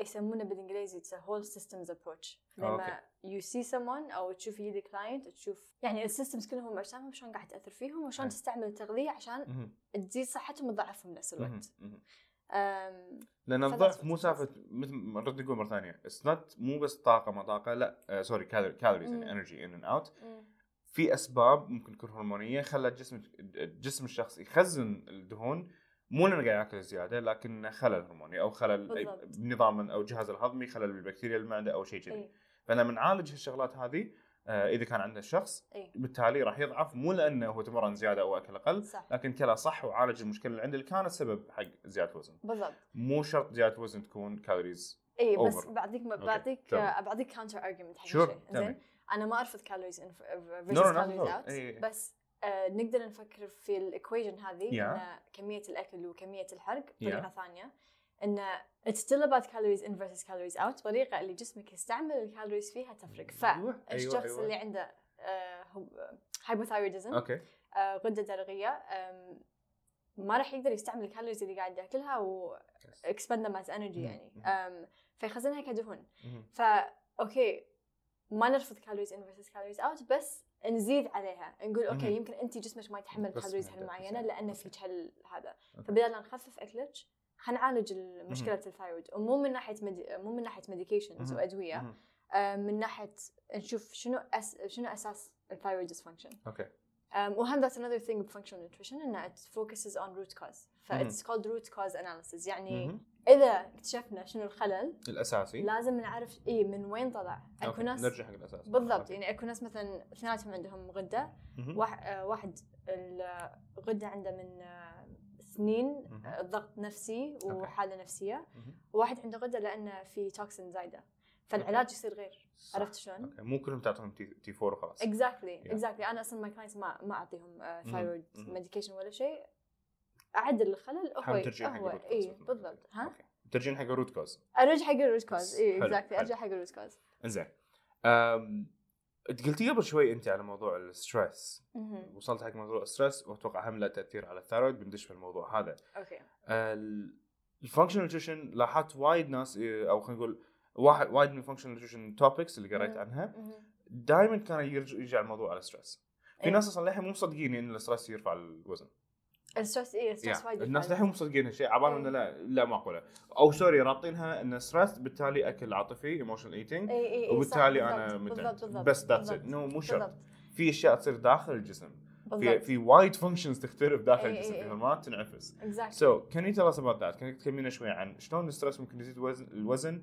[SPEAKER 2] يسمونه بالانجليزي it's a whole systems approach
[SPEAKER 1] أوكي.
[SPEAKER 2] لما you see someone او تشوف يدي كلاينت تشوف يعني السيستمز كلهم اجسامهم شلون قاعد تاثر فيهم
[SPEAKER 1] حلو.
[SPEAKER 2] وشلون تستعمل التغذيه عشان
[SPEAKER 1] مهم.
[SPEAKER 2] تزيد صحتهم وتضعفهم بنفس
[SPEAKER 1] مهم.
[SPEAKER 2] الوقت
[SPEAKER 1] مهم.
[SPEAKER 2] أم،
[SPEAKER 1] لان
[SPEAKER 2] فبس
[SPEAKER 1] الضعف مو
[SPEAKER 2] بس-
[SPEAKER 1] سالفه مثل ما نرد نقول مره ثانيه اتس نوت مو بس طاقه ما طاقه لا آه، سوري كالوريز
[SPEAKER 2] مم.
[SPEAKER 1] انرجي ان اند اوت
[SPEAKER 2] مم.
[SPEAKER 1] في اسباب ممكن تكون هرمونيه خلت جسم جسم الشخص يخزن الدهون مو لانه قاعد ياكل زياده لكن خلل هرموني او خلل
[SPEAKER 2] بالضبط.
[SPEAKER 1] بنظام او جهاز الهضمي خلل بالبكتيريا المعده او شيء كذي
[SPEAKER 2] إيه،
[SPEAKER 1] فلما نعالج هالشغلات هذه آه، اذا كان عندنا الشخص
[SPEAKER 2] إيه.
[SPEAKER 1] بالتالي راح يضعف مو لانه هو تمرن زياده او اكل اقل
[SPEAKER 2] صح
[SPEAKER 1] لكن كلا صح وعالج المشكله اللي عنده اللي كانت سبب حق زياده وزن
[SPEAKER 2] بالضبط
[SPEAKER 1] مو شرط زياده وزن تكون كالوريز
[SPEAKER 2] اي بس
[SPEAKER 1] Over.
[SPEAKER 2] بعطيك
[SPEAKER 1] Okay.
[SPEAKER 2] بعطيك
[SPEAKER 1] تمام.
[SPEAKER 2] آه، بعطيك كاونتر ارجيومنت حق
[SPEAKER 1] Sure.
[SPEAKER 2] شيء
[SPEAKER 1] تمام.
[SPEAKER 2] زين انا ما ارفض كالوريز ان
[SPEAKER 1] No, no, not
[SPEAKER 2] فيرسز
[SPEAKER 1] at
[SPEAKER 2] كالوريز
[SPEAKER 1] all.
[SPEAKER 2] اوت
[SPEAKER 1] إيه، إيه.
[SPEAKER 2] بس آه، نقدر نفكر في الايكويجن هذه
[SPEAKER 1] Yeah.
[SPEAKER 2] ان كميه الاكل وكميه الحرق
[SPEAKER 1] Yeah.
[SPEAKER 2] بطريقه ثانيه ان it's still about calories in versus calories out الطريقه اللي جسمك يستعمل الكالوريز فيها تفرق
[SPEAKER 1] أيوة،
[SPEAKER 2] فالشخص
[SPEAKER 1] أيوة، أيوة.
[SPEAKER 2] اللي عنده هايبوثايرودزم
[SPEAKER 1] اوكي
[SPEAKER 2] آه، غده درقيه آم، ما راح يقدر يستعمل الكالوريز اللي قاعد ياكلها و اكسبند ماس انرجي
[SPEAKER 1] مم.
[SPEAKER 2] يعني
[SPEAKER 1] مم.
[SPEAKER 2] آم، فيخزنها كدهون
[SPEAKER 1] مهم.
[SPEAKER 2] فا اوكي ما نرفض كالوريز ان فيرسز كالوريز اوت بس نزيد عليها نقول اوكي
[SPEAKER 1] مم.
[SPEAKER 2] يمكن انت جسمك ما يتحمل
[SPEAKER 1] بس
[SPEAKER 2] كالوريز
[SPEAKER 1] ما يقدر
[SPEAKER 2] هالمعينه
[SPEAKER 1] يسوي.
[SPEAKER 2] لان
[SPEAKER 1] أوكي.
[SPEAKER 2] فيك هال هذا
[SPEAKER 1] أوكي.
[SPEAKER 2] فبدال لا نخفف اكلك حنعالج ال- مشكله الثايرويد ومو من ناحيه مدي... مو من ناحيه ميديكيشنز
[SPEAKER 1] مم.
[SPEAKER 2] وادويه
[SPEAKER 1] مهم.
[SPEAKER 2] آم، من ناحيه نشوف شنو أس... شنو اساس الثايرويد ديسفانكشن
[SPEAKER 1] اوكي
[SPEAKER 2] Um, وهم that's another thing بfunctional nutrition انه it focuses on root cause ف
[SPEAKER 1] مهم.
[SPEAKER 2] it's called root cause analysis يعني
[SPEAKER 1] مهم.
[SPEAKER 2] اذا اكتشفنا شنو الخلل
[SPEAKER 1] الاساسي
[SPEAKER 2] لازم نعرف اي من وين طلع
[SPEAKER 1] إيه. أوكي.
[SPEAKER 2] اكو ناس
[SPEAKER 1] نرجع حق الاساس
[SPEAKER 2] بالضبط
[SPEAKER 1] أوكي.
[SPEAKER 2] يعني اكو ناس مثلا اثنيناتهم عندهم غده
[SPEAKER 1] مهم.
[SPEAKER 2] واحد, آه، واحد الغده عنده من آه، سنين
[SPEAKER 1] مهم.
[SPEAKER 2] آه، ضغط نفسي
[SPEAKER 1] أوكي.
[SPEAKER 2] وحاله نفسيه
[SPEAKER 1] مهم.
[SPEAKER 2] وواحد عنده غده لانه في توكسين زايده فالعلاج يصير غير
[SPEAKER 1] صح.
[SPEAKER 2] عرفت شلون؟
[SPEAKER 1] اوكي مو كلهم تعطيهم تي تي 4 وخلاص
[SPEAKER 2] اكزاكتلي
[SPEAKER 1] Yeah.
[SPEAKER 2] اكزاكتلي انا اصلا ماي كلاينتس ما ما آه، اعطيهم
[SPEAKER 1] مم.
[SPEAKER 2] ثايرويد
[SPEAKER 1] مم.
[SPEAKER 2] ميديكيشن ولا شيء اعدل الخلل هو
[SPEAKER 1] حاول ترجع حق
[SPEAKER 2] هو
[SPEAKER 1] الروت
[SPEAKER 2] اي
[SPEAKER 1] كوز.
[SPEAKER 2] بالضبط ها
[SPEAKER 1] أوكي. ترجعين حق الروت كوز
[SPEAKER 2] ارجع حق الروت كوز اي
[SPEAKER 1] حلو،
[SPEAKER 2] اكزاكتلي
[SPEAKER 1] حلو.
[SPEAKER 2] ارجع إيه، حق الروت كوز
[SPEAKER 1] انزين أم، أنت قلتي قبل شوي انت على موضوع الستريس
[SPEAKER 2] مهم.
[SPEAKER 1] وصلت حق موضوع الستريس واتوقع هم له تاثير على الثايرويد بندش في الموضوع هذا
[SPEAKER 2] اوكي
[SPEAKER 1] الفانكشنال نيوتريشن لاحظت وايد ناس إيه، او خلينا نقول واحد وايد من الفانكشنال نيوتريشن توبكس اللي قريت
[SPEAKER 2] مم.
[SPEAKER 1] عنها
[SPEAKER 2] مهم.
[SPEAKER 1] دائما كان يرجع, يرجع الموضوع على الستريس في
[SPEAKER 2] إيه.
[SPEAKER 1] ناس اصلا للحين مو مصدقين ان الستريس يرفع الوزن
[SPEAKER 2] الستريس اي الستريس
[SPEAKER 1] Yeah.
[SPEAKER 2] وايد
[SPEAKER 1] الناس
[SPEAKER 2] يفرق.
[SPEAKER 1] للحين مو مصدقين هالشيء
[SPEAKER 2] إيه.
[SPEAKER 1] عبالهم انه لا لا معقوله او سوري رابطينها ان ستريس بالتالي اكل عاطفي ايموشنال ايتنج
[SPEAKER 2] اي اي اي إيه، صح،
[SPEAKER 1] وبالتالي
[SPEAKER 2] بالضبط،
[SPEAKER 1] انا
[SPEAKER 2] بالضبط
[SPEAKER 1] متنت
[SPEAKER 2] بالضبط
[SPEAKER 1] بس ذاتس ات
[SPEAKER 2] بالضبط،
[SPEAKER 1] نو مو شرط
[SPEAKER 2] بالضبط
[SPEAKER 1] في اشياء تصير داخل الجسم في
[SPEAKER 2] بالضبط
[SPEAKER 1] في وايد فانكشنز تختلف داخل
[SPEAKER 2] إيه،
[SPEAKER 1] الجسم
[SPEAKER 2] إيه،
[SPEAKER 1] في
[SPEAKER 2] إيه.
[SPEAKER 1] هرمونات تنعفس
[SPEAKER 2] اكزاكتلي
[SPEAKER 1] سو كان يو تيل اس اباوت ذات؟ كان تكلمينا شوي عن شلون الستريس ممكن يزيد وزن الوزن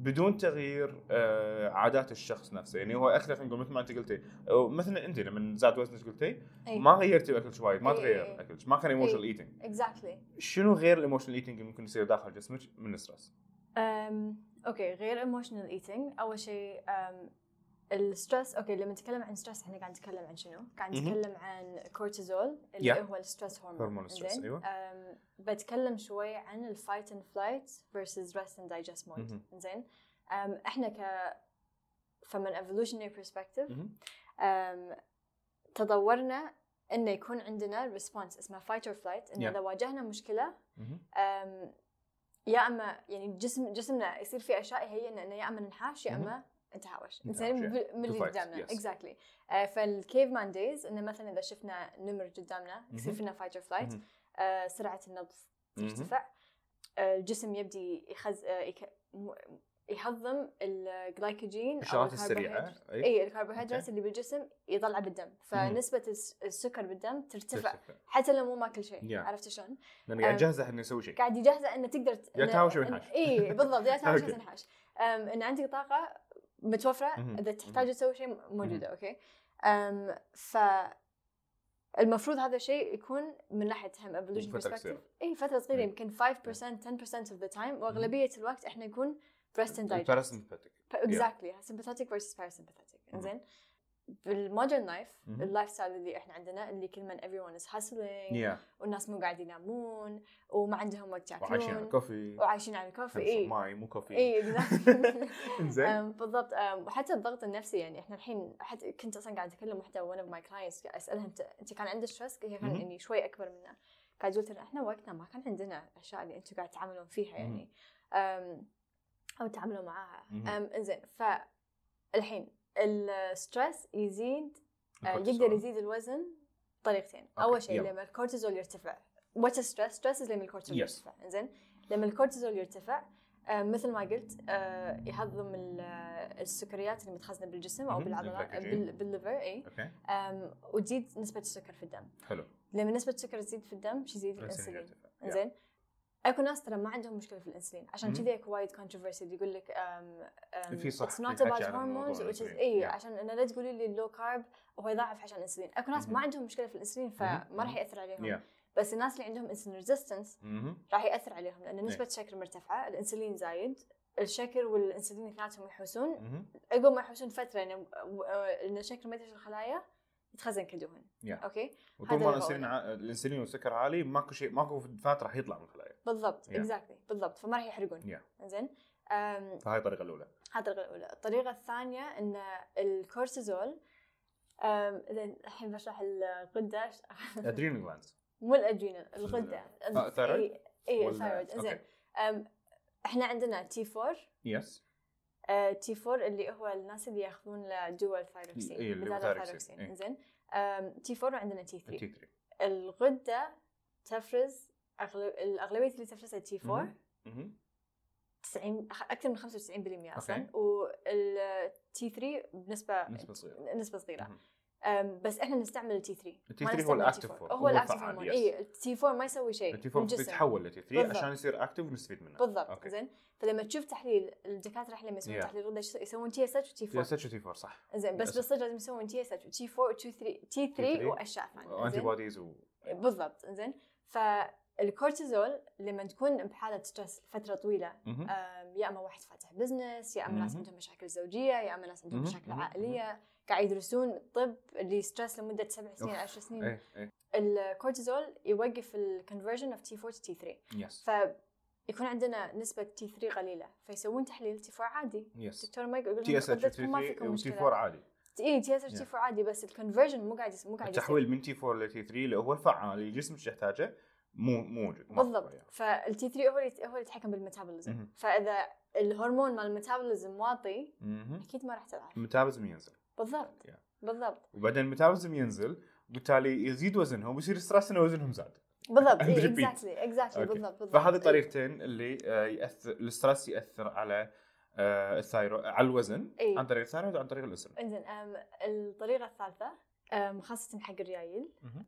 [SPEAKER 1] بدون تغيير آه، عادات الشخص نفسه يعني هو اكله خلينا نقول مثل ما انت قلتي أو مثلا انت لما زاد وزنك قلتي
[SPEAKER 2] إيه،
[SPEAKER 1] ما غيرتي اكلك وايد ما
[SPEAKER 2] إي، إي،
[SPEAKER 1] تغير
[SPEAKER 2] إي.
[SPEAKER 1] اكلك ما كان ايموشنال
[SPEAKER 2] إيه.
[SPEAKER 1] ايتنج
[SPEAKER 2] اكزاكتلي
[SPEAKER 1] شنو غير الايموشنال ايتنج اللي ممكن يصير داخل جسمك من الستريس؟
[SPEAKER 2] أم، اوكي Um, غير ايموشنال ايتينج اول شيء أم، الستريس اوكي لما نتكلم عن ستريس احنا قاعد نتكلم عن شنو؟ قاعد
[SPEAKER 1] مهم.
[SPEAKER 2] نتكلم عن كورتيزول اللي
[SPEAKER 1] Yeah.
[SPEAKER 2] هو الستريس هرمون
[SPEAKER 1] هرمون الستريس،
[SPEAKER 2] إنزين؟
[SPEAKER 1] أيوة.
[SPEAKER 2] أم، Um، بتكلم شوي عن الفايت اند فلايت versus rest and digest mode
[SPEAKER 1] مهم.
[SPEAKER 2] زين احنا ك from an evolutionary perspective
[SPEAKER 1] مهم.
[SPEAKER 2] أم، تطورنا انه يكون عندنا ريسبونس اسمه فايت اور فلايت انه
[SPEAKER 1] Yeah.
[SPEAKER 2] اذا واجهنا مشكله
[SPEAKER 1] مهم.
[SPEAKER 2] أم، يا اما يعني جسم جسمنا يصير فيه اشياء هي إن- انه يا اما ننحاش يا
[SPEAKER 1] مهم.
[SPEAKER 2] اما نتهاوش
[SPEAKER 1] نتهاوش،
[SPEAKER 2] انسان
[SPEAKER 1] yeah.
[SPEAKER 2] من اللي
[SPEAKER 1] To fight,
[SPEAKER 2] قدامنا آه،
[SPEAKER 1] yes.
[SPEAKER 2] اكزاكتلي فالكيف مان دايز انه مثلا اذا شفنا نمر قدامنا يصير
[SPEAKER 1] مهم.
[SPEAKER 2] فينا فايت اور فلايت
[SPEAKER 1] مهم.
[SPEAKER 2] سرعه آه، النبض
[SPEAKER 1] مهم.
[SPEAKER 2] ترتفع آه، الجسم يبدي يخز آه، يك... م- يهضم الجلايكوجين أو إيه،
[SPEAKER 1] الاشارات
[SPEAKER 2] الكربوهيدرات.
[SPEAKER 1] السريعه اي
[SPEAKER 2] اي الكربوهيدرات اللي بالجسم يطلع بالدم فنسبه الس- السكر بالدم ترتفع
[SPEAKER 1] ترتفع.
[SPEAKER 2] حتى لو مو ماكل شيء
[SPEAKER 1] Yeah.
[SPEAKER 2] عرفت شلون؟
[SPEAKER 1] لان قاعد
[SPEAKER 2] أم.
[SPEAKER 1] جاهزه انه يسوي شيء
[SPEAKER 2] آه، قاعد يجهزه انه تقدر ت-
[SPEAKER 1] يا
[SPEAKER 2] إنه-
[SPEAKER 1] تهاوش يا
[SPEAKER 2] إن-
[SPEAKER 1] ينحاش.
[SPEAKER 2] اي بالضبط يا تهاوش يا
[SPEAKER 1] أوكي.
[SPEAKER 2] تنحاش أم، ان عندك طاقه متوفره
[SPEAKER 1] مهم.
[SPEAKER 2] اذا تحتاج
[SPEAKER 1] مهم.
[SPEAKER 2] تسوي شيء موجوده
[SPEAKER 1] مهم.
[SPEAKER 2] اوكي أم، ف المفروض هذا الشيء يكون من ناحيه هم evolution
[SPEAKER 1] فترة
[SPEAKER 2] perspective
[SPEAKER 1] قصيرة.
[SPEAKER 2] اي فتره صغيره
[SPEAKER 1] مم.
[SPEAKER 2] يمكن 5% 10% of the time واغلبيه الوقت احنا نكون breast and digest
[SPEAKER 1] باراسمباتيك
[SPEAKER 2] اكزاكتلي sympathetic versus parasympathetic
[SPEAKER 1] مم.
[SPEAKER 2] زين بالمودرن لايف
[SPEAKER 1] مهم.
[SPEAKER 2] اللايف ستايل اللي احنا عندنا اللي كل من everyone is hustling
[SPEAKER 1] يا
[SPEAKER 2] والناس مو قاعد ينامون وما عندهم وقت
[SPEAKER 1] وعايشين على
[SPEAKER 2] ياكلون
[SPEAKER 1] الكوفي
[SPEAKER 2] وعايشين على الكوفي
[SPEAKER 1] خمسة
[SPEAKER 2] اي
[SPEAKER 1] ماي مو كوفي
[SPEAKER 2] اي exactly.
[SPEAKER 1] انزين
[SPEAKER 2] أم، بالضبط أم، وحتى الضغط النفسي يعني احنا الحين حتى كنت اصلا قاعد اتكلم واحده ون اوف ماي كلاينتس اسالها انت انت كان عندك ستريس؟ هي كان
[SPEAKER 1] مهم.
[SPEAKER 2] يعني شوي اكبر منا قاعد قلت لها احنا وقتنا ما كان عندنا الاشياء اللي انتم قاعد تتعاملون فيها يعني أم، او تتعاملوا معاها
[SPEAKER 1] مهم.
[SPEAKER 2] أم، انزين فالحين الستريس يزيد آه، يقدر
[SPEAKER 1] الكورتيزول.
[SPEAKER 2] يزيد الوزن بطريقتين
[SPEAKER 1] أوكي،
[SPEAKER 2] اول شيء
[SPEAKER 1] يلا.
[SPEAKER 2] لما الكورتيزول يرتفع وات ستريس ستريس لما الكورتيزول
[SPEAKER 1] Yes.
[SPEAKER 2] يرتفع زين لما الكورتيزول يرتفع آه، مثل ما قلت آه، يهضم ال- آه، السكريات اللي متخزنه بالجسم او
[SPEAKER 1] مهم،
[SPEAKER 2] بالعضلات آه،
[SPEAKER 1] الglycogen.
[SPEAKER 2] بال- بالليفر اي
[SPEAKER 1] اوكي
[SPEAKER 2] آم، وتزيد نسبه السكر في الدم
[SPEAKER 1] حلو
[SPEAKER 2] لما نسبه السكر تزيد في الدم شي يزيد
[SPEAKER 1] الانسولين
[SPEAKER 2] الانسولين
[SPEAKER 1] يرتفع. Yeah.
[SPEAKER 2] زين اكو ناس ترى ما عندهم مشكله في الانسولين عشان
[SPEAKER 1] مهم.
[SPEAKER 2] كذي اكو وايد كونتروفيرسي يقول لك
[SPEAKER 1] في صح،
[SPEAKER 2] اتس
[SPEAKER 1] في
[SPEAKER 2] نوت
[SPEAKER 1] حكي
[SPEAKER 2] اباوت
[SPEAKER 1] عن الموضوع
[SPEAKER 2] هرمونز which is
[SPEAKER 1] الأنسولين.
[SPEAKER 2] اي
[SPEAKER 1] Yeah.
[SPEAKER 2] عشان انا لا تقولي لي اللو كارب هو يضعف عشان الانسولين اكو ناس ما
[SPEAKER 1] مهم.
[SPEAKER 2] عندهم مشكله في الانسولين
[SPEAKER 1] مهم.
[SPEAKER 2] فما راح ياثر عليهم
[SPEAKER 1] Yeah.
[SPEAKER 2] بس الناس اللي عندهم انسولين ريزيستنس
[SPEAKER 1] مهم.
[SPEAKER 2] راح ياثر عليهم لان نسبه الشكر مرتفعه الانسولين زايد الشكر والانسولين اثنيناتهم يحوسون
[SPEAKER 1] مهم.
[SPEAKER 2] عقب ما يحوسون فتره يعني و- آه، ان الشكر ما يدش الخلايا يتخزن كدهن
[SPEAKER 1] Yeah.
[SPEAKER 2] اوكي
[SPEAKER 1] وطول ما
[SPEAKER 2] هذا يعني.
[SPEAKER 1] الانسولين ع- الانسولين والسكر عالي ماكو شيء ماكو فات راح يطلع من الخلايا
[SPEAKER 2] بالضبط
[SPEAKER 1] Yeah.
[SPEAKER 2] اكزاكتلي بالضبط فما راح يحرقون زين أم،
[SPEAKER 1] فهاي الطريقه الاولى
[SPEAKER 2] هذه الطريقه الاولى الطريقه الثانيه ان الكورتيزول أم، زين الحين بشرح الغده
[SPEAKER 1] ادرينال جلاندز
[SPEAKER 2] مو الادرينال الغده
[SPEAKER 1] آه، thyroid؟
[SPEAKER 2] اي اي الثايرويد زين أم، احنا عندنا تي 4
[SPEAKER 1] يس
[SPEAKER 2] تي 4 اللي هو الناس اللي ياخذون له دول ثايروكسين
[SPEAKER 1] إي، اللي هو
[SPEAKER 2] بدال
[SPEAKER 1] thyroxine، إي.
[SPEAKER 2] الثايروكسين زين تي 4 وعندنا تي 3
[SPEAKER 1] التي 3
[SPEAKER 2] الغده تفرز أغلب... الاغلبيه اللي تفرزها تي 4
[SPEAKER 1] مهم.
[SPEAKER 2] 90 أخ- اكثر من 95% اصلا
[SPEAKER 1] أوكي.
[SPEAKER 2] والتي 3 بنسبه
[SPEAKER 1] نسبة صغيرة.
[SPEAKER 2] نسبه صغيره
[SPEAKER 1] مهم.
[SPEAKER 2] أم، بس احنا نستعمل التي 3
[SPEAKER 1] التي 3 هو الactive form.
[SPEAKER 2] هو إيه،
[SPEAKER 1] هو
[SPEAKER 2] الاكتف
[SPEAKER 1] الفعال،
[SPEAKER 2] هرمون
[SPEAKER 1] yes.
[SPEAKER 2] اي التي 4 ما يسوي شيء
[SPEAKER 1] التي 4
[SPEAKER 2] بالجسم.
[SPEAKER 1] تتحول لتي 3
[SPEAKER 2] إيه. بالضبط.
[SPEAKER 1] عشان يصير اكتف ونستفيد منه
[SPEAKER 2] بالضبط
[SPEAKER 1] أوكي.
[SPEAKER 2] زين فلما تشوف تحليل الدكاتره احنا لما يسوون
[SPEAKER 1] Yeah.
[SPEAKER 2] تحليل غده يش- يسوون تي اس اتش وتي
[SPEAKER 1] تي
[SPEAKER 2] 4
[SPEAKER 1] اس اتش تي 4 صح
[SPEAKER 2] زين بس
[SPEAKER 1] للأسف.
[SPEAKER 2] بالصدق لازم يسوون تي اس اتش وتي 4 وتي 3 تي 3
[SPEAKER 1] T3
[SPEAKER 2] واشياء ثانيه
[SPEAKER 1] انتي
[SPEAKER 2] زين؟
[SPEAKER 1] بوديز و
[SPEAKER 2] بالضبط زين فالكورتيزول لما تكون بحاله ستريس فتره طويله
[SPEAKER 1] مهم.
[SPEAKER 2] أم، يا اما واحد فاتح بزنس يا اما ناس
[SPEAKER 1] مهم.
[SPEAKER 2] عندهم مشاكل زوجيه يا اما ناس عندهم
[SPEAKER 1] مهم.
[SPEAKER 2] مشاكل
[SPEAKER 1] مهم.
[SPEAKER 2] عائليه قاعد يدرسون الطب اللي ستريس لمده سبع سنين
[SPEAKER 1] أوف.
[SPEAKER 2] عشر سنين
[SPEAKER 1] ايه ايه
[SPEAKER 2] الكورتيزول يوقف الكونفرجن اوف تي 4 تو تي 3
[SPEAKER 1] يس
[SPEAKER 2] ف يكون عندنا نسبه تي 3 قليله فيسوون تحليل تي 4 عادي
[SPEAKER 1] يس
[SPEAKER 2] الدكتور ما يقول لهم
[SPEAKER 1] تي اس اتش
[SPEAKER 2] قدرتكم ما فيكم إيه،
[SPEAKER 1] 3 وتي
[SPEAKER 2] مشكله
[SPEAKER 1] 4 عادي
[SPEAKER 2] اي تي اس اتش تي 4 عادي بس الكونفرجن مو قاعد يس- مو قاعد يصير.
[SPEAKER 1] التحويل من تي 4 لتي 3 اللي هو الفعال اللي جسمك يحتاجه مو مو موجود ما في
[SPEAKER 2] بالضبط
[SPEAKER 1] طريقة.
[SPEAKER 2] فالتي 3 هو اللي هو اللي يتحكم بالميتابوليزم
[SPEAKER 1] مهم.
[SPEAKER 2] فاذا الهرمون مال الميتابوليزم واطي
[SPEAKER 1] مهم.
[SPEAKER 2] اكيد ما راح تضعف
[SPEAKER 1] الميتابوليزم ينزل
[SPEAKER 2] بالضبط
[SPEAKER 1] Yeah.
[SPEAKER 2] بالضبط
[SPEAKER 1] وبعدين الميتابوليزم ينزل وبالتالي يزيد وزنهم ويصير ستريس انه وزنهم زاد
[SPEAKER 2] بالضبط
[SPEAKER 1] And repeat.
[SPEAKER 2] اكزاكتلي اكزاكتلي
[SPEAKER 1] Okay.
[SPEAKER 2] بالضبط بالضبط
[SPEAKER 1] فهذه
[SPEAKER 2] إي.
[SPEAKER 1] طريقتين اللي آه، ياثر الستريس ياثر على آه، الثايرو على الوزن
[SPEAKER 2] إي.
[SPEAKER 1] عن طريق الثايرويد وعن طريق الانسولين
[SPEAKER 2] انزين أم، الطريقه الثالثه أم، خاصه حق الريايل
[SPEAKER 1] مهم.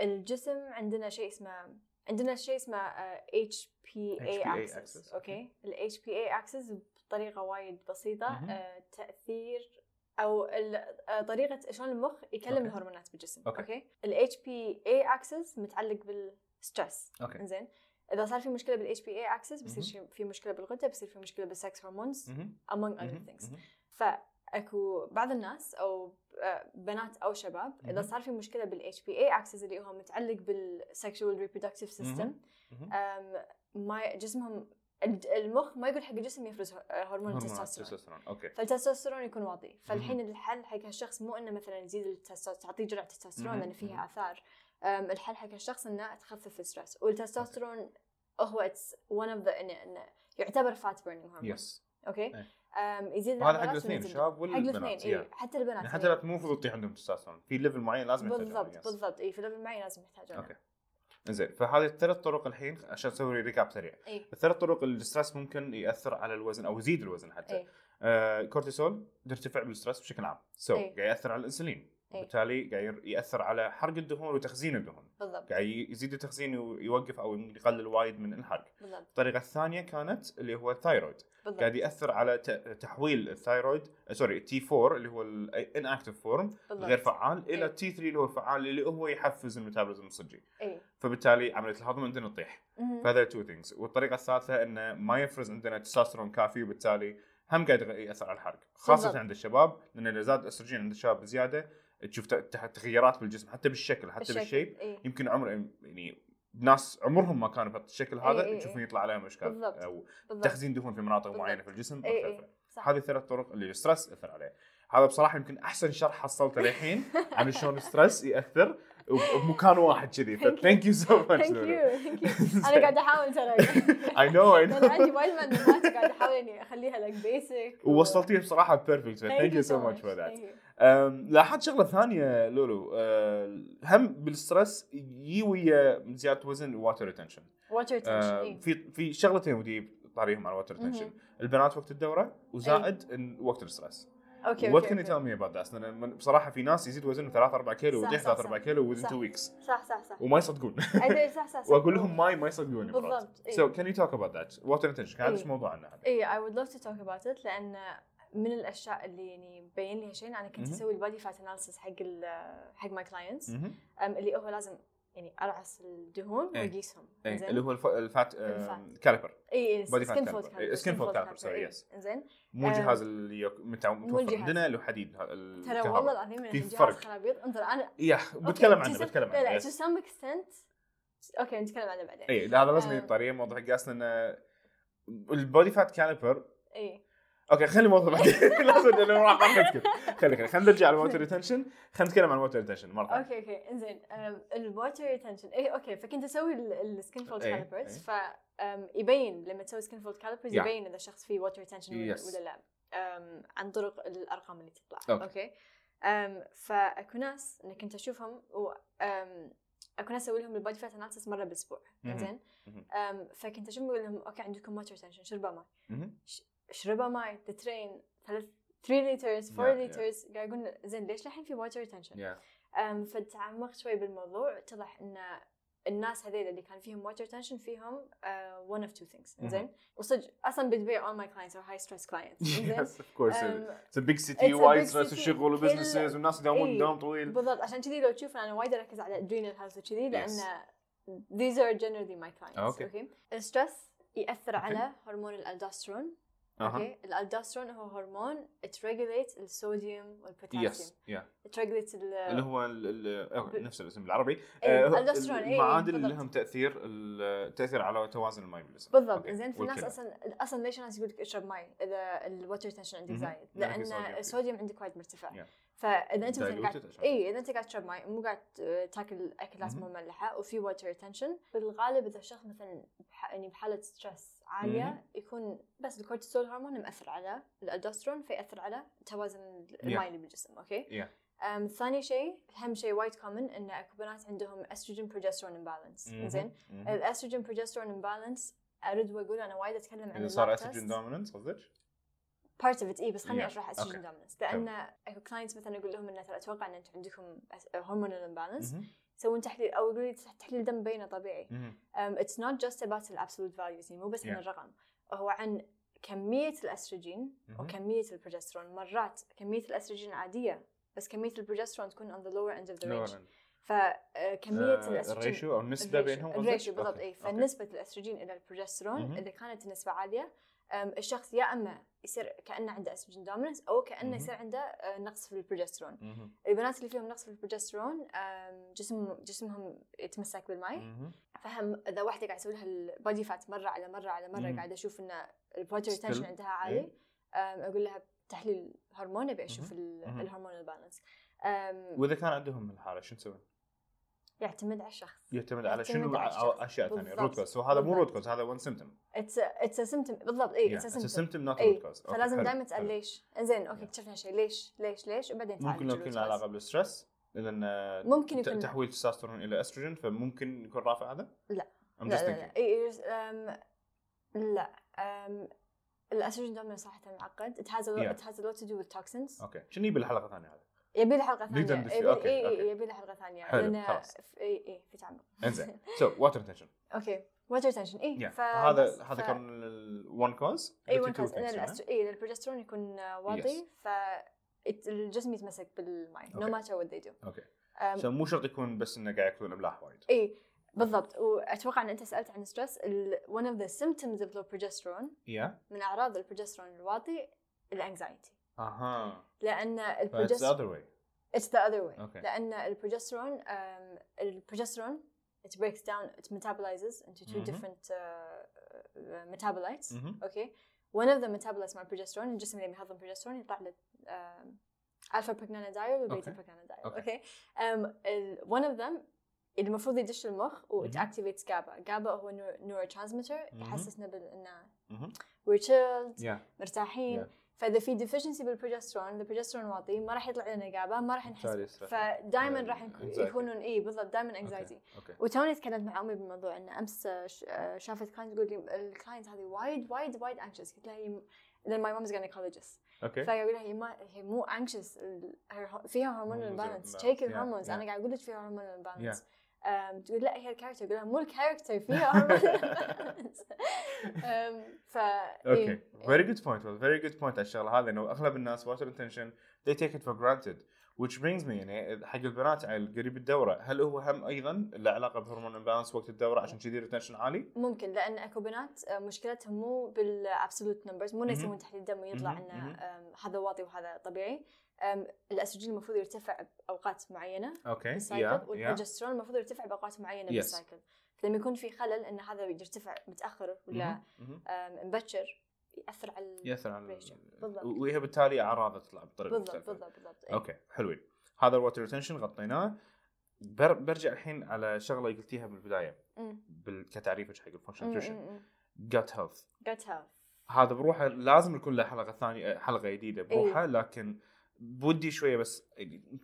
[SPEAKER 2] الجسم عندنا شيء اسمه عندنا شيء اسمه آه، اتش بي اي
[SPEAKER 1] HPA
[SPEAKER 2] اكسس
[SPEAKER 1] axis.
[SPEAKER 2] اوكي الاتش بي اي اكسس بطريقه وايد بسيطه
[SPEAKER 1] مهم.
[SPEAKER 2] آه، تاثير او ال- آه، طريقه شلون المخ يكلم
[SPEAKER 1] أوكي.
[SPEAKER 2] الهرمونات بالجسم
[SPEAKER 1] أوكي.
[SPEAKER 2] اوكي الاتش بي اي اكسس متعلق بالستريس
[SPEAKER 1] اوكي
[SPEAKER 2] انزين اذا صار في مشكله بالاتش بي اي اكسس بيصير
[SPEAKER 1] مهم.
[SPEAKER 2] شي- في مشكله بالغده بيصير في مشكله بالسكس هرمونز
[SPEAKER 1] مهم.
[SPEAKER 2] among
[SPEAKER 1] مهم.
[SPEAKER 2] other things
[SPEAKER 1] مهم.
[SPEAKER 2] فاكو بعض الناس او آه، بنات او شباب اذا
[SPEAKER 1] مهم.
[SPEAKER 2] صار في مشكله بالاتش بي اي اكسس اللي هو متعلق بالسكشوال ريبرودكتيف سيستم
[SPEAKER 1] مهم.
[SPEAKER 2] Uh,
[SPEAKER 1] مهم.
[SPEAKER 2] ما جسمهم الج- المخ ما يقول حق الجسم يفرز ه- آه، هرمون
[SPEAKER 1] هرمونات
[SPEAKER 2] التستوستيرون
[SPEAKER 1] التستوستيرون اوكي
[SPEAKER 2] فالتستوستيرون يكون واطي فالحين
[SPEAKER 1] مهم.
[SPEAKER 2] الحل حق هالشخص مو انه مثلا يزيد التستوستيرون تعطيه جرعه تستوستيرون
[SPEAKER 1] مهم.
[SPEAKER 2] لان
[SPEAKER 1] مهم.
[SPEAKER 2] فيها اثار أم، الحل حق هالشخص انه تخفف الستريس والتستوستيرون هو اتس ون اوف ذا يعتبر فات بيرنينج هرمون
[SPEAKER 1] يس
[SPEAKER 2] اوكي
[SPEAKER 1] إيه.
[SPEAKER 2] أم، يزيد
[SPEAKER 1] وهذا حق
[SPEAKER 2] العضلات
[SPEAKER 1] الاثنين
[SPEAKER 2] وينزل
[SPEAKER 1] الشباب
[SPEAKER 2] حق الاثنين
[SPEAKER 1] والبنات
[SPEAKER 2] اي
[SPEAKER 1] يعني
[SPEAKER 2] حتى البنات
[SPEAKER 1] حتى
[SPEAKER 2] إي.
[SPEAKER 1] لا مو المفروض يطيح عندهم تستوستيرون في ليفل معين لازم يحتاجونه،
[SPEAKER 2] بالضبط
[SPEAKER 1] yes.
[SPEAKER 2] بالضبط اي في ليفل معين لازم يحتاجونه
[SPEAKER 1] أوكي. زين فهذه الثلاث طرق الحين عشان اسوي ريكاب سريع
[SPEAKER 2] اي
[SPEAKER 1] الثلاث طرق الستريس ممكن ياثر على الوزن او يزيد الوزن حتى
[SPEAKER 2] اي
[SPEAKER 1] آه، كورتيسول يرتفع بالستريس بشكل عام سو
[SPEAKER 2] إيه.
[SPEAKER 1] قاعد ياثر على الانسولين
[SPEAKER 2] إيه.
[SPEAKER 1] وبالتالي قاعد ير- ياثر على حرق الدهون وتخزين الدهون
[SPEAKER 2] بالضبط
[SPEAKER 1] قاعد يزيد التخزين ويوقف او يقلل وايد من الحرق
[SPEAKER 2] بالضبط
[SPEAKER 1] الطريقه الثانيه كانت اللي هو الثايرويد
[SPEAKER 2] بالضبط
[SPEAKER 1] قاعد ياثر على ت- تحويل آه، الثايرويد سوري تي 4 اللي هو الان اكتف فورم
[SPEAKER 2] بالضبط
[SPEAKER 1] غير فعال
[SPEAKER 2] إيه.
[SPEAKER 1] الى تي 3 اللي هو فعال اللي هو يحفز الميتابوليزم الصجي
[SPEAKER 2] اي
[SPEAKER 1] فبالتالي عمليه الهضم عندنا تطيح
[SPEAKER 2] إيه. مهم.
[SPEAKER 1] فهذا تو ثينجز والطريقه الثالثه انه ما يفرز عندنا تستوستيرون كافي وبالتالي هم قاعد يغ- ياثر على الحرق خاصه
[SPEAKER 2] بالضبط.
[SPEAKER 1] عند الشباب لان اذا زاد الاستروجين عند الشباب بزياده تشوف ت- ت- تغيرات بالجسم حتى بالشكل حتى
[SPEAKER 2] الشكل. إيه،
[SPEAKER 1] بالشيب
[SPEAKER 2] إي.
[SPEAKER 1] يمكن عمر يعني ناس عمرهم ما كانوا بهالشكل هذا
[SPEAKER 2] إي إي إي.
[SPEAKER 1] تشوفهم يطلع عليهم اشكال
[SPEAKER 2] إيه، بالضبط.
[SPEAKER 1] او
[SPEAKER 2] بالضبط
[SPEAKER 1] تخزين دهون في مناطق
[SPEAKER 2] بالضبط. إيه،
[SPEAKER 1] معينه في الجسم
[SPEAKER 2] إي
[SPEAKER 1] مختلفه
[SPEAKER 2] إي. صح
[SPEAKER 1] هذه الثلاث طرق اللي الستريس اثر عليه هذا بصراحه يمكن احسن شرح حصلته للحين عن شلون الستريس ياثر وب- بمكان واحد كذي فثانك يو سو ماتش
[SPEAKER 2] ثانك يو ثانك يو انا قاعده احاول ترى
[SPEAKER 1] اي نو اي
[SPEAKER 2] لان
[SPEAKER 1] نو
[SPEAKER 2] عندي وايد معلومات قاعده احاول اني اخليها لك بيسك
[SPEAKER 1] ووصلتيه بصراحه بيرفكت ثانك يو سو ماتش فور ذات Um, لاحظت شغله ثانيه لولو أه، هم بالستريس يجي ويا زياده وزن واتر ريتنشن
[SPEAKER 2] واتر
[SPEAKER 1] آه،
[SPEAKER 2] تنشن
[SPEAKER 1] في في شغلتين ودي طاريهم على واتر ريتنشن
[SPEAKER 2] مهم.
[SPEAKER 1] البنات وقت الدوره وزائد إن- وقت الستريس
[SPEAKER 2] اوكي
[SPEAKER 1] وات كان
[SPEAKER 2] اوكي
[SPEAKER 1] يو تيل مي اباوت ذات؟ بصراحه في ناس يزيد وزنهم 3 4 كيلو
[SPEAKER 2] صح،
[SPEAKER 1] ويطيح
[SPEAKER 2] صح،
[SPEAKER 1] 3
[SPEAKER 2] صح.
[SPEAKER 1] 4 كيلو وذين
[SPEAKER 2] صح.
[SPEAKER 1] 2 ويكس
[SPEAKER 2] صح صح صح
[SPEAKER 1] وما يصدقون
[SPEAKER 2] أدري، صح صح صح
[SPEAKER 1] واقول لهم ماي ما يصدقون مرات.
[SPEAKER 2] بالضبط، إيه. إي.
[SPEAKER 1] So can you talk about that? What intention? كان
[SPEAKER 2] إي.
[SPEAKER 1] هذا إيش موضوعنا هذا؟
[SPEAKER 2] اي إيه، I would love to talk about it لان من الاشياء اللي يعني مبين لي هالشيء انا كنت
[SPEAKER 1] مهم.
[SPEAKER 2] اسوي البادي فات اناليسيس حق ال- حق ماي كلاينتس
[SPEAKER 1] مهم.
[SPEAKER 2] اللي هو لازم يعني ارعس الدهون
[SPEAKER 1] إيه.
[SPEAKER 2] واقيسهم
[SPEAKER 1] إي،
[SPEAKER 2] إنزين؟
[SPEAKER 1] اللي هو الف- الفات
[SPEAKER 2] الفات.
[SPEAKER 1] كاليبر
[SPEAKER 2] اي
[SPEAKER 1] body fat
[SPEAKER 2] سكن
[SPEAKER 1] caliper.
[SPEAKER 2] فولد
[SPEAKER 1] إيه، skin fold caliper، sorry، yes.
[SPEAKER 2] زين
[SPEAKER 1] مو
[SPEAKER 2] آه.
[SPEAKER 1] الجهاز اللي يك- متع- متوفر
[SPEAKER 2] الجهاز.
[SPEAKER 1] عندنا اللي هو حديد ه- ال-
[SPEAKER 2] ترى
[SPEAKER 1] الكهرباء.
[SPEAKER 2] والله العظيم انا
[SPEAKER 1] في
[SPEAKER 2] جهاز
[SPEAKER 1] فرق.
[SPEAKER 2] خرابيط انظر انا
[SPEAKER 1] يا
[SPEAKER 2] أوكي،
[SPEAKER 1] بتكلم عنه
[SPEAKER 2] to some-
[SPEAKER 1] بتكلم
[SPEAKER 2] لا
[SPEAKER 1] عنه
[SPEAKER 2] لا
[SPEAKER 1] yes. إيه.
[SPEAKER 2] to some extent اوكي نتكلم عنه بعدين
[SPEAKER 1] اي لا، هذا لازم
[SPEAKER 2] آه.
[SPEAKER 1] يطريه موضوع قياسنا انه آه، البودي فات كاليبر
[SPEAKER 2] اي
[SPEAKER 1] اوكي خلي الموضوع بعدين لازم لانه راح راح نتكلم خلي خلي خلينا نرجع للووتر ريتنشن خلينا نتكلم عن الووتر ريتنشن مره ثانية.
[SPEAKER 2] اوكي اوكي انزين الواتر ريتنشن اي اوكي إيه، فكنت اسوي السكن فولد
[SPEAKER 1] إيه،
[SPEAKER 2] كاليبرز
[SPEAKER 1] إيه.
[SPEAKER 2] ف أم، يبين لما تسوي سكن فولد كاليبرز
[SPEAKER 1] Yeah.
[SPEAKER 2] يبين اذا الشخص فيه واتر ريتنشن
[SPEAKER 1] Yes.
[SPEAKER 2] ولا لا أم، عن طرق الارقام اللي تطلع
[SPEAKER 1] Okay.
[SPEAKER 2] اوكي أم، فاكو ناس انا كنت اشوفهم و أم، اكو ناس اسوي لهم البادي فات اناليسيس مره بالاسبوع
[SPEAKER 1] مهم.
[SPEAKER 2] زين
[SPEAKER 1] مهم.
[SPEAKER 2] فكنت اشوفهم اقول لهم اوكي عندكم واتر ريتنشن شربوا ماي
[SPEAKER 1] مهم.
[SPEAKER 2] اشربها ماي تترين ثلاث 3 لترز 4
[SPEAKER 1] Yeah, yeah.
[SPEAKER 2] لترز قاعد يقول زين ليش للحين في واتر ريتنشن؟
[SPEAKER 1] Yeah.
[SPEAKER 2] فتعمقت شوي بالموضوع اتضح ان الناس هذيل اللي كان فيهم واتر ريتنشن فيهم أه، ون اوف تو ثينجز
[SPEAKER 1] مهم.
[SPEAKER 2] زين وصدق اصلا بالبيع اول ماي كلاينتس ار هاي ستريس كلاينتس زين
[SPEAKER 1] Yes, of course.
[SPEAKER 2] أم،
[SPEAKER 1] It's a big city,
[SPEAKER 2] um, it's a
[SPEAKER 1] وايد
[SPEAKER 2] big
[SPEAKER 1] ستريس
[SPEAKER 2] city.
[SPEAKER 1] وشغل وبزنسز
[SPEAKER 2] كل-
[SPEAKER 1] والناس يداومون
[SPEAKER 2] إي.
[SPEAKER 1] دوام طويل.
[SPEAKER 2] بالضبط عشان كذي لو تشوف انا وايد اركز على adrenal health وكذي لان these are generally my clients
[SPEAKER 1] أوكي.
[SPEAKER 2] اوكي الستريس ياثر
[SPEAKER 1] أوكي.
[SPEAKER 2] على هرمون الالدوسترون
[SPEAKER 1] اها
[SPEAKER 2] اوكي الالدوسترون هو هرمون تريجليت الصوديوم والبوتاسيوم
[SPEAKER 1] يس يا
[SPEAKER 2] تريجليت ال
[SPEAKER 1] اللي هو ال- ال- أوكي، نفس الاسم بالعربي
[SPEAKER 2] إيه،
[SPEAKER 1] آه، هو
[SPEAKER 2] الألدوسترون، إيه،
[SPEAKER 1] المعادن اللي
[SPEAKER 2] بالضبط.
[SPEAKER 1] لهم تاثير التاثير على توازن الماي بالجسم
[SPEAKER 2] بالضبط
[SPEAKER 1] أوكي،
[SPEAKER 2] زين في ناس
[SPEAKER 1] والكلى.
[SPEAKER 2] اصلا اصلا ليش الناس يقول لك اشرب ماي اذا الوتر تنشن عندك
[SPEAKER 1] مهم.
[SPEAKER 2] زايد
[SPEAKER 1] لأن في
[SPEAKER 2] لان
[SPEAKER 1] صوديوم فيه.
[SPEAKER 2] الصوديوم عندك وايد مرتفع
[SPEAKER 1] Yeah.
[SPEAKER 2] فاذا انت مثلا
[SPEAKER 1] Diluted
[SPEAKER 2] قاعد
[SPEAKER 1] عشان-
[SPEAKER 2] اي اذا انت قاعد تشرب ماي مو قاعد آه، تاكل اكلات
[SPEAKER 1] مهم.
[SPEAKER 2] مو مملحه وفي وتر تنشن بالغالب اذا الشخص مثلا بح... يعني بحاله ستريس
[SPEAKER 1] مهم.
[SPEAKER 2] عاليه يكون بس الكورتيزول هرمون مأثر على الالدوسترون فيأثر على توازن الماي اللي بالجسم اوكي؟
[SPEAKER 1] Yeah.
[SPEAKER 2] أم، ثاني شيء اهم شيء وايد كومن ان اكو بنات عندهم استروجين بروجسترون امبالانس
[SPEAKER 1] مهم.
[SPEAKER 2] زين
[SPEAKER 1] مهم.
[SPEAKER 2] الاستروجين بروجسترون امبالانس ارد واقول انا وايد اتكلم عن
[SPEAKER 1] اذا صار
[SPEAKER 2] اللاب
[SPEAKER 1] استروجين
[SPEAKER 2] تست.
[SPEAKER 1] دوميننت قصدك؟
[SPEAKER 2] بارت اوف ات اي إيه، بس خليني
[SPEAKER 1] Yeah.
[SPEAKER 2] اشرح استروجين دومينس لان اكو كلاينتس مثلا اقول لهم ان ترى اتوقع ان انتم عندكم هرمونال امبالانس
[SPEAKER 1] مهم.
[SPEAKER 2] يسوون تحليل او يقولوا لي تحليل دم بينه طبيعي Um،
[SPEAKER 1] مهم.
[SPEAKER 2] اتس نوت جاست اباوت الابسولوت فاليوز يعني مو بس عن
[SPEAKER 1] Yeah.
[SPEAKER 2] الرقم هو عن كميه الاستروجين
[SPEAKER 1] مهم.
[SPEAKER 2] وكميه البروجسترون مرات كميه الاستروجين عاديه بس كميه البروجسترون تكون on the lower end of the range
[SPEAKER 1] لورن.
[SPEAKER 2] فكميه
[SPEAKER 1] آه،
[SPEAKER 2] الاستروجين
[SPEAKER 1] الريشيو او النسبه بينهم قصدك؟
[SPEAKER 2] الريشيو بالضبط إيه،
[SPEAKER 1] أوكي.
[SPEAKER 2] اي
[SPEAKER 1] أوكي.
[SPEAKER 2] فنسبه الاستروجين الى البروجسترون
[SPEAKER 1] مهم.
[SPEAKER 2] اذا كانت النسبه عاليه أم، الشخص يا اما يصير كانه عنده استروجين دوميننس او
[SPEAKER 1] مهم.
[SPEAKER 2] كانه يصير عنده آه، نقص في البروجسترون
[SPEAKER 1] مهم.
[SPEAKER 2] البنات اللي فيهم نقص في البروجسترون أم، جسم جسمهم يتمسك بالماي
[SPEAKER 1] مهم.
[SPEAKER 2] فهم اذا واحده قاعده تسوي لها البادي فات مره على مره على مره
[SPEAKER 1] مهم.
[SPEAKER 2] قاعده اشوف ان الوتر
[SPEAKER 1] Still. إيه.
[SPEAKER 2] تنشن عندها عالي أم، اقول لها تحليل هرمون ابي اشوف ال-
[SPEAKER 1] مهم.
[SPEAKER 2] الهرمونال بالانس
[SPEAKER 1] واذا كان عندهم الحاله شو نسوي؟
[SPEAKER 2] يعتمد على الشخص
[SPEAKER 1] يعتمد على
[SPEAKER 2] يعتمد
[SPEAKER 1] شنو
[SPEAKER 2] على الشخص.
[SPEAKER 1] ع- اشياء ثانيه
[SPEAKER 2] بالضبط.
[SPEAKER 1] روت كوز وهذا مو روت
[SPEAKER 2] بالضبط.
[SPEAKER 1] كوز هذا ون سيمتوم
[SPEAKER 2] اتس اتس سيمتوم بالضبط إيه، اي اتس سيمتوم
[SPEAKER 1] سيمتوم نوت
[SPEAKER 2] إيه،
[SPEAKER 1] روت كوز
[SPEAKER 2] فلازم دائما تسال ليش انزين اوكي اكتشفنا شيء ليش ليش ليش وبعدين تعالج
[SPEAKER 1] ممكن لو يكون له
[SPEAKER 2] الوسواس.
[SPEAKER 1] علاقه بالستريس لان آه،
[SPEAKER 2] ممكن
[SPEAKER 1] ت-
[SPEAKER 2] يكون لا
[SPEAKER 1] تحويل تستوستيرون الى استروجين فممكن يكون رافع هذا؟
[SPEAKER 2] لا.
[SPEAKER 1] I'm just
[SPEAKER 2] لا
[SPEAKER 1] thinking.
[SPEAKER 2] لا إي، إي، أم، لا أم، الاستروجين دومنا صراحه معقد it has a lot,
[SPEAKER 1] Yeah.
[SPEAKER 2] it has a lot to do with toxins
[SPEAKER 1] اوكي شنو يبي الحلقه الثانيه هذا؟
[SPEAKER 2] يبي له حلقه
[SPEAKER 1] Need to
[SPEAKER 2] ثانيه
[SPEAKER 1] understand.
[SPEAKER 2] يبي
[SPEAKER 1] أوكي،
[SPEAKER 2] إي، إي،
[SPEAKER 1] أوكي.
[SPEAKER 2] يبي له حلقه ثانيه
[SPEAKER 1] حلو،
[SPEAKER 2] لأن
[SPEAKER 1] خلاص.
[SPEAKER 2] في- اي اي في تعمق
[SPEAKER 1] انزين سو واتر تنشن
[SPEAKER 2] اوكي واتر تنشن اي
[SPEAKER 1] هذا هذا كان الون كوز
[SPEAKER 2] اي ون كوز ان إيه، الأسترو- إي، البروجسترون يكون واطي ف it- الجسم يتمسك بالماء نو
[SPEAKER 1] أوكي.
[SPEAKER 2] ماتر وات ذي دو
[SPEAKER 1] اوكي سو مو شرط يكون بس انه قاعد ياكلون املاح وايد
[SPEAKER 2] اي إيه، بالضبط واتوقع ان انت سالت عن ستريس one of the symptoms of low progesterone
[SPEAKER 1] يا
[SPEAKER 2] من اعراض البروجسترون الواطي الانكزايتي
[SPEAKER 1] اها
[SPEAKER 2] لان
[SPEAKER 1] فاتس
[SPEAKER 2] البروجسترون
[SPEAKER 1] اذر واي
[SPEAKER 2] اتس ذا اذر واي
[SPEAKER 1] Okay.
[SPEAKER 2] لان البروجسترون um, البروجسترون it breaks down it metabolizes into two
[SPEAKER 1] Mhm.
[SPEAKER 2] different uh, uh, metabolites
[SPEAKER 1] Mhm.
[SPEAKER 2] okay one of the metabolites مع البروجسترون الجسم اللي يهضم البروجسترون يطلع له um, alpha pregnenolodiol
[SPEAKER 1] Okay.
[SPEAKER 2] وبيتا pregnenolodiol
[SPEAKER 1] Okay.
[SPEAKER 2] okay um, ال- one of them المفروض يدش المخ و it
[SPEAKER 1] Mhm.
[SPEAKER 2] activates GABA GABA هو نور- neurotransmitter
[SPEAKER 1] Mhm.
[SPEAKER 2] يحسسنا بانه
[SPEAKER 1] Mhm.
[SPEAKER 2] we're chilled
[SPEAKER 1] يا
[SPEAKER 2] مرتاحين
[SPEAKER 1] Yeah.
[SPEAKER 2] فاذا في ديفشنسي بالبروجسترون البروجسترون واطي ما راح يطلع لنا جابا ما راح نحس
[SPEAKER 1] بالتالي يصير-
[SPEAKER 2] فدائما
[SPEAKER 1] Yeah,
[SPEAKER 2] راح
[SPEAKER 1] anxiety.
[SPEAKER 2] يك- يكونون اي بالضبط دائما انكزايتي
[SPEAKER 1] اوكي
[SPEAKER 2] وتوني تكلمت مع امي بالموضوع ان امس ش- شافت كلاينت تقول لي الكلاينت هذه وايد وايد وايد انكشس قلت لها هي then my mom is gynecologist
[SPEAKER 1] اوكي
[SPEAKER 2] فاقول لها هي ما هي مو anxious ال- her-
[SPEAKER 1] Hormonal
[SPEAKER 2] فيها hormonal
[SPEAKER 1] imbalance.
[SPEAKER 2] imbalance check
[SPEAKER 1] Yeah,
[SPEAKER 2] hormones
[SPEAKER 1] yeah.
[SPEAKER 2] انا قاعد اقول لك فيها hormonal
[SPEAKER 1] Yeah.
[SPEAKER 2] imbalance أم، تقول لا هي الكاركتر اقول لها مو الكاركتر فيها hormonal imbalance أم، ف
[SPEAKER 1] اوكي
[SPEAKER 2] إيه.
[SPEAKER 1] فيري جود بوينت فيري جود بوينت على الشغله هذه انه اغلب الناس واتر انتنشن they take it for granted which brings me يعني حق البنات على القريب الدوره هل هو هم ايضا له علاقه بهرمون امبالانس وقت الدوره عشان كذي الريتنشن عالي؟
[SPEAKER 2] ممكن لان اكو بنات آه، مشكلتهم مو بالابسولوت نمبرز مو انه
[SPEAKER 1] مهم.
[SPEAKER 2] يسوون تحليل دم ويطلع
[SPEAKER 1] مهم، مهم.
[SPEAKER 2] انه آم، هذا واطي وهذا طبيعي آم، الاستروجين المفروض يرتفع باوقات معينه
[SPEAKER 1] اوكي
[SPEAKER 2] بالسايكل
[SPEAKER 1] يا
[SPEAKER 2] والبروجسترون المفروض يرتفع باوقات معينه
[SPEAKER 1] Yes.
[SPEAKER 2] بالسايكل فلما يكون في خلل ان هذا يرتفع متاخر ولا آم، مبكر ياثر على ال-
[SPEAKER 1] ياثر على
[SPEAKER 2] Ratio. بالضبط.
[SPEAKER 1] و- وهي بالتالي اعراضه تطلع بطريقه
[SPEAKER 2] بالضبط
[SPEAKER 1] مختلفة.
[SPEAKER 2] بالضبط بالضبط إيه.
[SPEAKER 1] اوكي حلوين هذا الوتر ريتنشن غطيناه بر برجع الحين على شغله قلتيها بالبدايه
[SPEAKER 2] إيه. مم.
[SPEAKER 1] بال... كتعريفك حق الفانكشن
[SPEAKER 2] مم،
[SPEAKER 1] نيوتريشن
[SPEAKER 2] مم، مم.
[SPEAKER 1] جت هيلث
[SPEAKER 2] Gut health.
[SPEAKER 1] هذا بروحه لازم يكون له حلقه ثانيه حلقه
[SPEAKER 2] إيه.
[SPEAKER 1] جديده بروحه لكن بودي شويه بس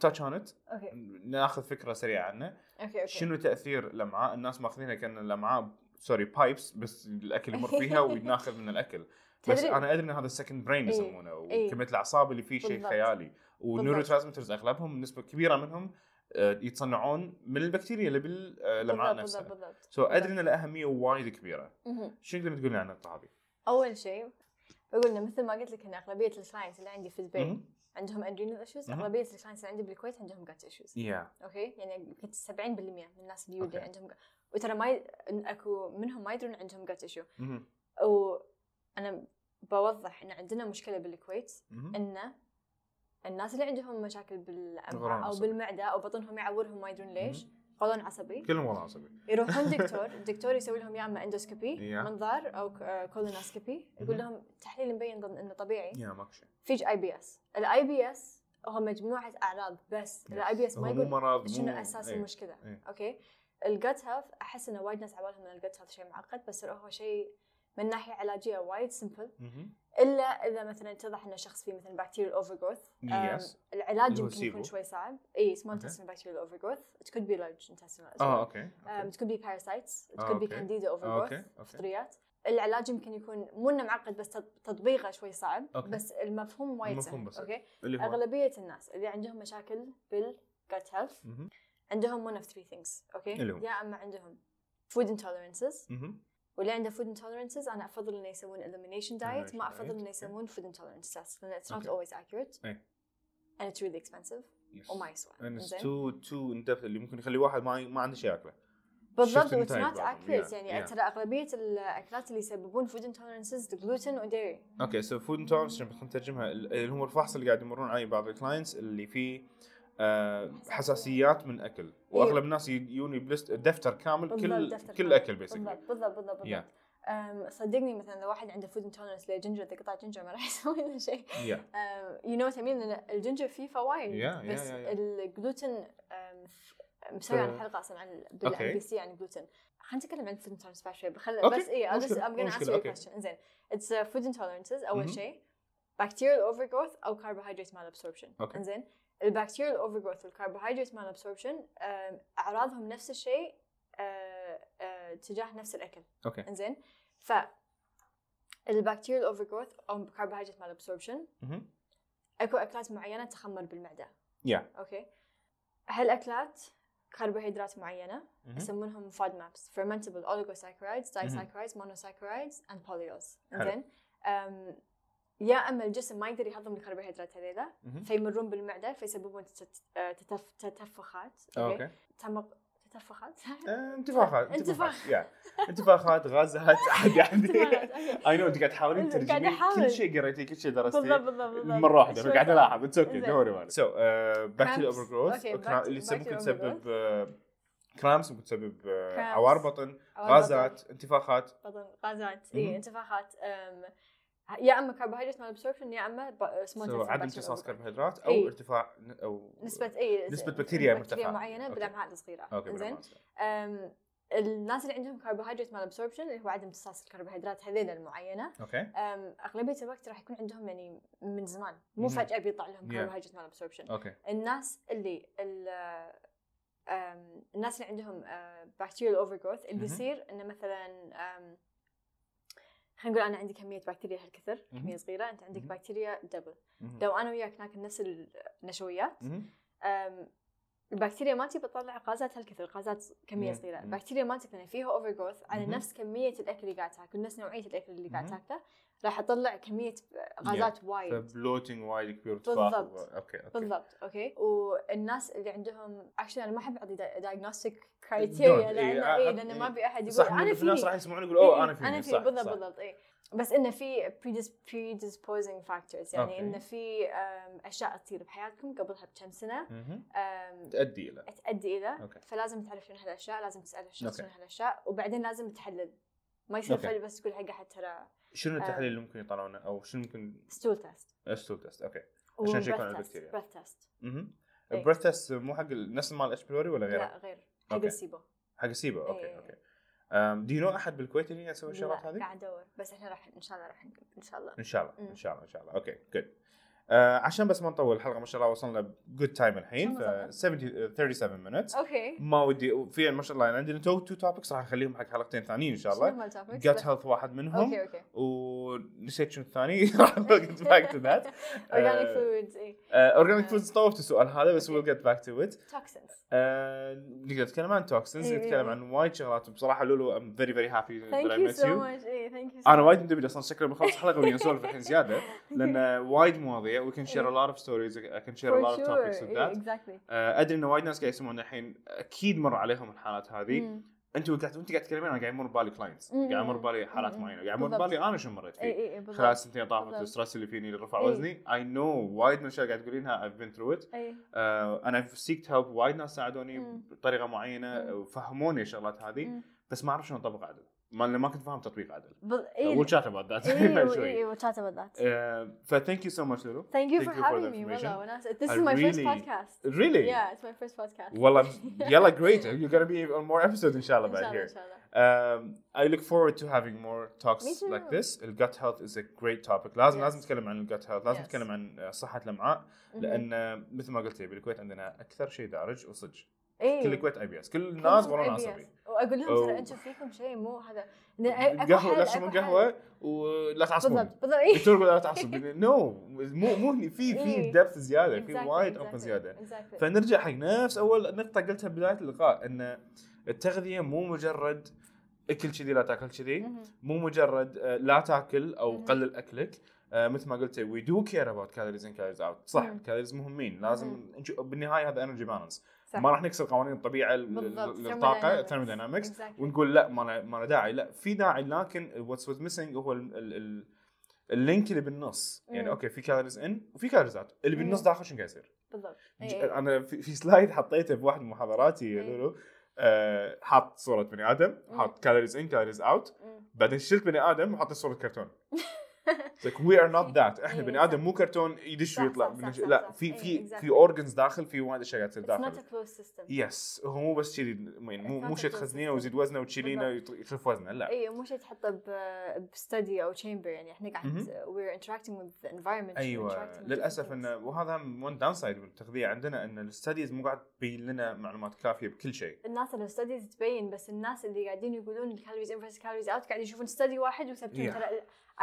[SPEAKER 1] تاتش اون
[SPEAKER 2] اوكي
[SPEAKER 1] ناخذ فكره سريعه عنه
[SPEAKER 2] اوكي اوكي
[SPEAKER 1] شنو تاثير الامعاء الناس ماخذينها كان الامعاء سوري بايبس بس الاكل يمر فيها وناخذ من الاكل بس
[SPEAKER 2] تدري-
[SPEAKER 1] انا ادري ان هذا السكند برين
[SPEAKER 2] إيه.
[SPEAKER 1] يسمونه
[SPEAKER 2] إيه.
[SPEAKER 1] وكميه الاعصاب اللي فيه شيء
[SPEAKER 2] بالضبط.
[SPEAKER 1] خيالي ونيورو ترانسمترز اغلبهم نسبه كبيره منهم آه، يتصنعون من البكتيريا اللي بالامعاء
[SPEAKER 2] بالضبط
[SPEAKER 1] نفسها
[SPEAKER 2] بالضبط بالضبط
[SPEAKER 1] سو ادري ان له اهميه وايد كبيره
[SPEAKER 2] مهم.
[SPEAKER 1] شنو تقدر تقول لي عن النقطه هذه؟
[SPEAKER 2] اول شيء بقول إنه مثل ما قلت لك ان اغلبيه الكلاينتس اللي عندي في البيت
[SPEAKER 1] مهم.
[SPEAKER 2] عندهم ادرينال ايشوز
[SPEAKER 1] مهم.
[SPEAKER 2] اغلبيه الكلاينتس اللي عندي بالكويت عندهم جات ايشوز
[SPEAKER 1] يا
[SPEAKER 2] اوكي يعني يمكن 70% من الناس اليودي
[SPEAKER 1] أوكي.
[SPEAKER 2] عندهم وترى ما ي... إن اكو منهم ما يدرون عندهم جات ايشو
[SPEAKER 1] مهم.
[SPEAKER 2] وانا بوضح ان عندنا مشكله بالكويت
[SPEAKER 1] مهم.
[SPEAKER 2] ان الناس اللي عندهم مشاكل
[SPEAKER 1] غرام
[SPEAKER 2] بالامعاء او
[SPEAKER 1] عصبي.
[SPEAKER 2] بالمعده او بطنهم يعورهم ما يدرون ليش قولون عصبي
[SPEAKER 1] كلهم والله عصبي
[SPEAKER 2] يروحون دكتور الدكتور يسوي لهم يا اما اندوسكوبي
[SPEAKER 1] Yeah.
[SPEAKER 2] منظار او كولونوسكوبي يقول
[SPEAKER 1] مهم.
[SPEAKER 2] لهم تحليل مبين ضمن انه طبيعي
[SPEAKER 1] يا ماكو شيء
[SPEAKER 2] فيج اي بي اس الاي بي اس هو مجموعه اعراض بس الاي بي اس
[SPEAKER 1] هو
[SPEAKER 2] ما
[SPEAKER 1] مو
[SPEAKER 2] يقول
[SPEAKER 1] مرض
[SPEAKER 2] شنو
[SPEAKER 1] مو-
[SPEAKER 2] اساس
[SPEAKER 1] إيه.
[SPEAKER 2] المشكله
[SPEAKER 1] إيه.
[SPEAKER 2] اوكي الجت هيلث احس انه وايد ناس عبالهم ان الجت هيلث شيء معقد بس هو شيء من ناحيه علاجيه وايد سمبل
[SPEAKER 1] مهم.
[SPEAKER 2] الا اذا مثلا اتضح ان شخص فيه مثلا بكتيريال اوفر جروث
[SPEAKER 1] Yes.
[SPEAKER 2] العلاج
[SPEAKER 1] اللي هو
[SPEAKER 2] يمكن يكون
[SPEAKER 1] SIBO.
[SPEAKER 2] شوي صعب اي سمول
[SPEAKER 1] Okay.
[SPEAKER 2] intestinal بكتيريال اوفر جروث ات كود بي لارج intestinal as
[SPEAKER 1] اه
[SPEAKER 2] well.
[SPEAKER 1] اوكي
[SPEAKER 2] Um,
[SPEAKER 1] أوكي.
[SPEAKER 2] it could be parasites it
[SPEAKER 1] آه،
[SPEAKER 2] could be
[SPEAKER 1] أوكي.
[SPEAKER 2] candida
[SPEAKER 1] آه،
[SPEAKER 2] overgrowth
[SPEAKER 1] أوكي، أوكي.
[SPEAKER 2] فطريات العلاج يمكن يكون مو انه معقد بس تط- تطبيقه شوي صعب
[SPEAKER 1] أوكي.
[SPEAKER 2] بس المفهوم وايد
[SPEAKER 1] المفهوم إيه،
[SPEAKER 2] سهل
[SPEAKER 1] بس.
[SPEAKER 2] اوكي
[SPEAKER 1] اللي هو
[SPEAKER 2] اغلبيه الناس اللي عندهم مشاكل بالجت هيلث
[SPEAKER 1] مهم.
[SPEAKER 2] عندهم one of three things اوكي
[SPEAKER 1] اللي هو؟
[SPEAKER 2] يا اما عندهم food intolerances
[SPEAKER 1] مهم.
[SPEAKER 2] واللي عنده food intolerances انا افضل انه يسوون elimination diet
[SPEAKER 1] Elimination
[SPEAKER 2] ما افضل
[SPEAKER 1] diet. إيه.
[SPEAKER 2] انه يسوون food intolerances لان it's not
[SPEAKER 1] أوكي.
[SPEAKER 2] always accurate
[SPEAKER 1] إيه.
[SPEAKER 2] and it's really expensive
[SPEAKER 1] Yes.
[SPEAKER 2] وما يسوى
[SPEAKER 1] And it's
[SPEAKER 2] إنزين؟
[SPEAKER 1] too too in depth اللي ممكن يخلي واحد ما ما عنده شيء ياكله
[SPEAKER 2] بالضبط
[SPEAKER 1] Shift in
[SPEAKER 2] واتس
[SPEAKER 1] time
[SPEAKER 2] نوت
[SPEAKER 1] problem.
[SPEAKER 2] اكيوريت
[SPEAKER 1] Yeah,
[SPEAKER 2] يعني
[SPEAKER 1] yeah.
[SPEAKER 2] ترى اغلبيه الاكلات اللي يسببون فود انتولرنسز جلوتين وديري
[SPEAKER 1] اوكي سو فود انتولرنس عشان بس نترجمها ال- اللي هم الفحص اللي قاعد يمرون عليه بعض الكلاينتس اللي فيه آه، حساسيات من اكل واغلب الناس ي- يجوني بلست إيه. دفتر كامل كل
[SPEAKER 2] بالضبط، دفتر
[SPEAKER 1] كل
[SPEAKER 2] كامل.
[SPEAKER 1] اكل
[SPEAKER 2] بالضبط
[SPEAKER 1] بيسكلي
[SPEAKER 2] بالضبط بالضبط
[SPEAKER 1] Yeah.
[SPEAKER 2] بالضبط أم، صدقني مثلا لو واحد عنده فود انتولرنس للجنجر اذا قطع جنجر ما راح يسوي له شيء
[SPEAKER 1] يا
[SPEAKER 2] يو نو تميل لان الجنجر فيه فوائد
[SPEAKER 1] Yeah, yeah,
[SPEAKER 2] بس
[SPEAKER 1] yeah, yeah.
[SPEAKER 2] الجلوتين أم، مسوي عن
[SPEAKER 1] ف-
[SPEAKER 2] حلقه اصلا عن
[SPEAKER 1] Okay.
[SPEAKER 2] بالام سي عن الجلوتين يعني خلينا نتكلم عن الفود انتولرنس بعد شوي بخل
[SPEAKER 1] Okay.
[SPEAKER 2] بس إيه، اي
[SPEAKER 1] مشكلة.
[SPEAKER 2] ام جونا
[SPEAKER 1] مشكلة.
[SPEAKER 2] انسر يور
[SPEAKER 1] Okay.
[SPEAKER 2] كويستشن انزين اتس فود انتولرنسز اول
[SPEAKER 1] Mhm.
[SPEAKER 2] شيء بكتيريال اوفر جروث او كربوهيدرات مال ابسوربشن
[SPEAKER 1] Okay.
[SPEAKER 2] انزين البكتيريال اوفر جروث والكربوهيدرات مال ابسوربشن اعراضهم نفس الشيء أه، أه، تجاه نفس الاكل
[SPEAKER 1] اوكي
[SPEAKER 2] انزين ف البكتيريال اوفر جروث او كربوهيدرات مال ابسوربشن
[SPEAKER 1] مهم.
[SPEAKER 2] اكو اكلات معينه تخمر بالمعده
[SPEAKER 1] يا
[SPEAKER 2] اوكي هالاكلات كربوهيدرات معينه
[SPEAKER 1] مهم.
[SPEAKER 2] يسمونهم فاد مابس fermentable oligosaccharides
[SPEAKER 1] مهم.
[SPEAKER 2] disaccharides monosaccharides and polyols
[SPEAKER 1] حلو.
[SPEAKER 2] زين أم، يا اما الجسم ما يقدر يهضم الكربوهيدرات هذيلا
[SPEAKER 1] مهم.
[SPEAKER 2] فيمرون بالمعده فيسببون تت- آه، تتف- تتفخات اوكي
[SPEAKER 1] اوكي
[SPEAKER 2] تمق تتفخات
[SPEAKER 1] آه، انتفاخات
[SPEAKER 2] انتفاخ.
[SPEAKER 1] انتفاخات يا انتفاخات غازات يعني. عادي عندي
[SPEAKER 2] تتفخات، أوكي.
[SPEAKER 1] اي نو انت قاعد تحاولين
[SPEAKER 2] قاعدة
[SPEAKER 1] تترجمين كل
[SPEAKER 2] إيه، أحاول.
[SPEAKER 1] شيء قريتيه كل شيء
[SPEAKER 2] بالضبط
[SPEAKER 1] درستيه
[SPEAKER 2] بالضبط بالضبط.
[SPEAKER 1] مره واحده انا
[SPEAKER 2] شوي
[SPEAKER 1] قاعد
[SPEAKER 2] صعب.
[SPEAKER 1] العب اتس اوكي
[SPEAKER 2] إنزين.
[SPEAKER 1] دونت وري سو باك تو
[SPEAKER 2] Cramps.
[SPEAKER 1] اوفر جروث
[SPEAKER 2] Okay, back to-
[SPEAKER 1] اللي تسبب-
[SPEAKER 2] back to
[SPEAKER 1] ممكن
[SPEAKER 2] overgrowth.
[SPEAKER 1] تسبب كرامس ممكن تسبب آه،
[SPEAKER 2] Cramps.
[SPEAKER 1] عوار بطن
[SPEAKER 2] أوراق
[SPEAKER 1] غازات انتفاخات
[SPEAKER 2] بطن غازات
[SPEAKER 1] مهم.
[SPEAKER 2] اي إيه، انتفاخات أم، يا اما كربوهيدرات مال absorption يا اما
[SPEAKER 1] So
[SPEAKER 2] سمول
[SPEAKER 1] عدم امتصاص كربوهيدرات او
[SPEAKER 2] إيه.
[SPEAKER 1] ارتفاع ن- او
[SPEAKER 2] نسبة اي
[SPEAKER 1] نسبة بكتيريا مرتفعة.
[SPEAKER 2] معينة
[SPEAKER 1] أوكي.
[SPEAKER 2] بالامعاء الصغيرة
[SPEAKER 1] اوكي زين
[SPEAKER 2] زين الناس اللي عندهم كربوهيدرات مال absorption اللي هو عدم امتصاص الكربوهيدرات هذيل المعينة
[SPEAKER 1] اوكي
[SPEAKER 2] أم، اغلبية الوقت راح يكون عندهم يعني من زمان مو
[SPEAKER 1] مهم.
[SPEAKER 2] فجأة بيطلع لهم
[SPEAKER 1] Yeah.
[SPEAKER 2] كربوهيدرات مال absorption
[SPEAKER 1] اوكي
[SPEAKER 2] الناس اللي ال- أم، الناس اللي عندهم بكتيريال اوفر جروث اللي
[SPEAKER 1] مهم.
[SPEAKER 2] بيصير انه مثلا أم، خلينا نقول انا عندي كميه بكتيريا هالكثر
[SPEAKER 1] مهم.
[SPEAKER 2] كميه صغيره انت عندك
[SPEAKER 1] مهم.
[SPEAKER 2] بكتيريا دبل
[SPEAKER 1] مهم.
[SPEAKER 2] لو انا وياك ناكل نفس النشويات
[SPEAKER 1] مهم.
[SPEAKER 2] أم، البكتيريا مالتي بتطلع غازات هالكثر غازات كميه
[SPEAKER 1] مم.
[SPEAKER 2] صغيره
[SPEAKER 1] مم.
[SPEAKER 2] البكتيريا مالتك لان فيها اوفر جروث على
[SPEAKER 1] مهم.
[SPEAKER 2] نفس كميه الاكل اللي قاعد تاكل نفس نوعيه الاكل اللي قاعد
[SPEAKER 1] مهم.
[SPEAKER 2] تاكله راح تطلع كميه غازات
[SPEAKER 1] Mm-hmm.
[SPEAKER 2] وايد
[SPEAKER 1] فبلوتنج وايد كبير
[SPEAKER 2] بالضبط.
[SPEAKER 1] وارتفاع و- اوكي اوكي
[SPEAKER 2] بالضبط اوكي والناس اللي عندهم اكشلي انا ما احب اعطي دايجنوستيك كرايتيريا
[SPEAKER 1] Don't.
[SPEAKER 2] لان
[SPEAKER 1] إيه،
[SPEAKER 2] اي
[SPEAKER 1] أحط-
[SPEAKER 2] لان
[SPEAKER 1] إيه.
[SPEAKER 2] ما ابي احد يقول
[SPEAKER 1] صح
[SPEAKER 2] انا
[SPEAKER 1] في ناس راح
[SPEAKER 2] فيني
[SPEAKER 1] يسمعون يقول اوه
[SPEAKER 2] إيه،
[SPEAKER 1] انا فيني
[SPEAKER 2] انا فيني
[SPEAKER 1] صح،
[SPEAKER 2] بالضبط
[SPEAKER 1] صح.
[SPEAKER 2] بالضبط اي بس انه في predisposing factors يعني
[SPEAKER 1] أوكي.
[SPEAKER 2] انه في أم، اشياء تصير بحياتكم قبلها بكم سنه
[SPEAKER 1] مهم.
[SPEAKER 2] أم،
[SPEAKER 1] تؤدي الى
[SPEAKER 2] تؤدي الى
[SPEAKER 1] أوكي.
[SPEAKER 2] فلازم تعرف شنو هالاشياء لازم تسال الشخص
[SPEAKER 1] أوكي.
[SPEAKER 2] شنو هالاشياء وبعدين لازم تحلل ما يصير
[SPEAKER 1] أوكي.
[SPEAKER 2] فل بس تقول حق احد ترى
[SPEAKER 1] شنو
[SPEAKER 2] آه.
[SPEAKER 1] التحليل اللي ممكن يطلعونه او شنو ممكن
[SPEAKER 2] ستول تيست
[SPEAKER 1] ستول تيست اوكي عشان شي يكون على البكتيريا.
[SPEAKER 2] بريث تيست إيه.
[SPEAKER 1] البريث تيست مو حق ال- نفس مال اتش بلوري ولا غيره؟
[SPEAKER 2] لا غير حق
[SPEAKER 1] أوكي.
[SPEAKER 2] السيبو
[SPEAKER 1] حق سيبا
[SPEAKER 2] إيه.
[SPEAKER 1] اوكي اوكي أم، دي نوع احد بالكويت اللي يسوي الشغلات
[SPEAKER 2] لا،
[SPEAKER 1] هذه؟
[SPEAKER 2] قاعد ادور بس احنا راح ان شاء الله راح نقول ان شاء الله
[SPEAKER 1] ان شاء
[SPEAKER 2] مم.
[SPEAKER 1] الله ان شاء الله ان شاء الله اوكي جود آه عشان بس ما نطول الحلقه ما شاء الله وصلنا جود تايم الحين ف
[SPEAKER 2] شلون وصلنا؟
[SPEAKER 1] 70 37 مينتس
[SPEAKER 2] اوكي
[SPEAKER 1] ما ودي في ما شاء الله يعني عندنا تو تو توبكس راح نخليهم حق حلقتين ثانيين ان شاء الله جت
[SPEAKER 2] جت
[SPEAKER 1] هيلث واحد منهم
[SPEAKER 2] اوكي اوكي
[SPEAKER 1] ونسيت شنو الثاني راح جت باك تو ذات Uh,
[SPEAKER 2] اورجانيك فودز اي
[SPEAKER 1] اورجانيك فودز أه، طوفت السؤال هذا بس ويل جت باك تو ات
[SPEAKER 2] توكسنز
[SPEAKER 1] نقدر نتكلم عن توكسنز
[SPEAKER 2] إيه.
[SPEAKER 1] نتكلم عن وايد شغلات بصراحه لولو ام فيري فيري هابي
[SPEAKER 2] ثانك يو سو ماتش اي ثانك يو
[SPEAKER 1] انا وايد مندمج اصلا شكله بنخلص الحلقه ويا نسولف الحين زياده لان وايد مواضيع وي كان شير ا
[SPEAKER 2] إيه.
[SPEAKER 1] لوت اوف ستوريز اي كان شير ا لوت اوف
[SPEAKER 2] eh,
[SPEAKER 1] توبكس وذات
[SPEAKER 2] اكزاكتلي
[SPEAKER 1] آه،
[SPEAKER 2] Mm, eh,
[SPEAKER 1] ادري ان وايد ناس قاعد يسمعون الحين اكيد مر عليهم الحالات هذه انت وقت وانت قاعد تتكلمين انا قاعد يمر ببالي كلاينتس
[SPEAKER 2] مم.
[SPEAKER 1] قاعد يمر ببالي حالات
[SPEAKER 2] مم.
[SPEAKER 1] معينه قاعد يمر
[SPEAKER 2] بالضبط.
[SPEAKER 1] ببالي انا شو مريت
[SPEAKER 2] اي
[SPEAKER 1] فيه
[SPEAKER 2] اي اي
[SPEAKER 1] خلال
[SPEAKER 2] بالضبط
[SPEAKER 1] السنتين طافت
[SPEAKER 2] بالضبط. إيه.
[SPEAKER 1] الستريس اللي فيني اللي رفع
[SPEAKER 2] إي.
[SPEAKER 1] وزني اي نو وايد من الاشياء اللي قاعد تقولينها I've been through it
[SPEAKER 2] اي
[SPEAKER 1] انا سيكت هيلب وايد ناس ساعدوني
[SPEAKER 2] مم.
[SPEAKER 1] بطريقه معينه
[SPEAKER 2] مم.
[SPEAKER 1] وفهموني الشغلات هذه
[SPEAKER 2] مم.
[SPEAKER 1] بس ما اعرف شلون اطبق عدل ما لأن ما كنت فاهم تطبيق عدل
[SPEAKER 2] بال- اي
[SPEAKER 1] ويل شات اباوت
[SPEAKER 2] eh,
[SPEAKER 1] ذات
[SPEAKER 2] إيه، اي اي chat about that.
[SPEAKER 1] آه، فثانك يو سو ماتش لولو
[SPEAKER 2] Thank you
[SPEAKER 1] Eh, Thank you
[SPEAKER 2] for
[SPEAKER 1] for the
[SPEAKER 2] having me
[SPEAKER 1] information.
[SPEAKER 2] والله وناس this
[SPEAKER 1] I
[SPEAKER 2] is my first
[SPEAKER 1] really-
[SPEAKER 2] podcast
[SPEAKER 1] ريلي
[SPEAKER 2] yeah it's my first podcast
[SPEAKER 1] والله يلا great you're gonna be on more episodes ان شاء الله
[SPEAKER 2] إن شاء
[SPEAKER 1] بعد
[SPEAKER 2] الله،
[SPEAKER 1] here
[SPEAKER 2] إن شاء الله.
[SPEAKER 1] Um, I look forward to having more talks
[SPEAKER 2] Me too.
[SPEAKER 1] like this. ال gut health is a great topic. لازم
[SPEAKER 2] Yes.
[SPEAKER 1] لازم نتكلم عن ال gut health، لازم
[SPEAKER 2] Yes.
[SPEAKER 1] نتكلم عن uh, صحة الأمعاء
[SPEAKER 2] Mm-hmm.
[SPEAKER 1] لأن uh, مثل ما قلت لي بالكويت عندنا أكثر شيء دارج وصج.
[SPEAKER 2] إيه.
[SPEAKER 1] كل الكويت اي بي اس، كل
[SPEAKER 2] كل
[SPEAKER 1] الناس
[SPEAKER 2] شيء
[SPEAKER 1] غرون
[SPEAKER 2] IBS.
[SPEAKER 1] عصبي.
[SPEAKER 2] واقول لهم
[SPEAKER 1] أو-
[SPEAKER 2] ترى انتم فيكم شيء مو هذا إن أكو
[SPEAKER 1] قهوة
[SPEAKER 2] حل،
[SPEAKER 1] لا
[SPEAKER 2] أكو
[SPEAKER 1] تشربون
[SPEAKER 2] حل.
[SPEAKER 1] قهوة ولا تعصبون.
[SPEAKER 2] بالضبط بالضبط إيه.
[SPEAKER 1] الدكتور يقول لا تعصب نو مو مو هني في في
[SPEAKER 2] إيه.
[SPEAKER 1] دبث زيادة في
[SPEAKER 2] Exactly,
[SPEAKER 1] وايد
[SPEAKER 2] exactly,
[SPEAKER 1] عمق زيادة.
[SPEAKER 2] exactly.
[SPEAKER 1] فنرجع حق نفس اول نقطه قلتها بدايه اللقاء ان التغذيه مو مجرد اكل كذي لا تاكل كذي
[SPEAKER 2] مهم.
[SPEAKER 1] مو مجرد آه، لا تاكل او
[SPEAKER 2] مهم.
[SPEAKER 1] قلل اكلك آه، مثل ما قلت وي دو كير اباوت كالوريز اند كالوريز اوت صح
[SPEAKER 2] مم.
[SPEAKER 1] الكالوريز مهمين لازم نشو- بالنهايه هذا انرجي بالانس
[SPEAKER 2] صح.
[SPEAKER 1] ما راح نكسر قوانين الطبيعه ال-
[SPEAKER 2] بالضبط.
[SPEAKER 1] ال- الطاقه
[SPEAKER 2] Thermodynamics.
[SPEAKER 1] الثيرموداينامكس
[SPEAKER 2] Exactly.
[SPEAKER 1] ونقول لا ما له- ما له داعي لا في داعي لكن واتس وات ميسنج هو ال ال ال اللينك اللي بالنص يعني
[SPEAKER 2] مم.
[SPEAKER 1] اوكي في كالوريز ان وفي كالوريز اوت اللي
[SPEAKER 2] مم.
[SPEAKER 1] بالنص داخل شنو قاعد يصير
[SPEAKER 2] بالضبط
[SPEAKER 1] ج-
[SPEAKER 2] إيه.
[SPEAKER 1] انا في, في سلايد حطيته بواحد من محاضراتي يا
[SPEAKER 2] إيه.
[SPEAKER 1] لولو آه حاط صوره بني ادم
[SPEAKER 2] مم.
[SPEAKER 1] حاط كالوريز ان كالوريز اوت
[SPEAKER 2] مم.
[SPEAKER 1] بعدين شلت بني ادم وحطيت صوره كرتون like وي ار نوت ذات احنا
[SPEAKER 2] إيه،
[SPEAKER 1] بني
[SPEAKER 2] صح.
[SPEAKER 1] ادم مو كرتون يدش
[SPEAKER 2] صح،
[SPEAKER 1] ويطلع
[SPEAKER 2] صح،
[SPEAKER 1] من-
[SPEAKER 2] صح،
[SPEAKER 1] لا
[SPEAKER 2] صح،
[SPEAKER 1] في
[SPEAKER 2] صح.
[SPEAKER 1] في
[SPEAKER 2] إيه،
[SPEAKER 1] في
[SPEAKER 2] exactly.
[SPEAKER 1] اورجنز داخل في وايد اشياء قاعد تصير
[SPEAKER 2] It's not a
[SPEAKER 1] داخل
[SPEAKER 2] closed system
[SPEAKER 1] يس هو مو بس كذي مو
[SPEAKER 2] It's not
[SPEAKER 1] مو
[SPEAKER 2] a
[SPEAKER 1] شيء
[SPEAKER 2] closed
[SPEAKER 1] تخزنينه
[SPEAKER 2] system.
[SPEAKER 1] ويزيد وزنه وتشيلينه ويخف وزنه لا
[SPEAKER 2] اي إيه، مو شيء تحطه ب بستدي او تشامبر يعني احنا قاعد we're interacting with the environment we're interacting
[SPEAKER 1] ايوه
[SPEAKER 2] with
[SPEAKER 1] للاسف
[SPEAKER 2] different
[SPEAKER 1] انه وهذا ون داون سايد بالتغذيه عندنا ان الستديز مو قاعد تبين لنا معلومات كافيه بكل شيء
[SPEAKER 2] things. الناس اللي ستديز تبين بس الناس اللي قاعدين يقولون الكالوريز ان فيرس كالوريز اوت قاعدين يشوفون ستدي واحد ويثبتون
[SPEAKER 1] Yeah.
[SPEAKER 2] ترى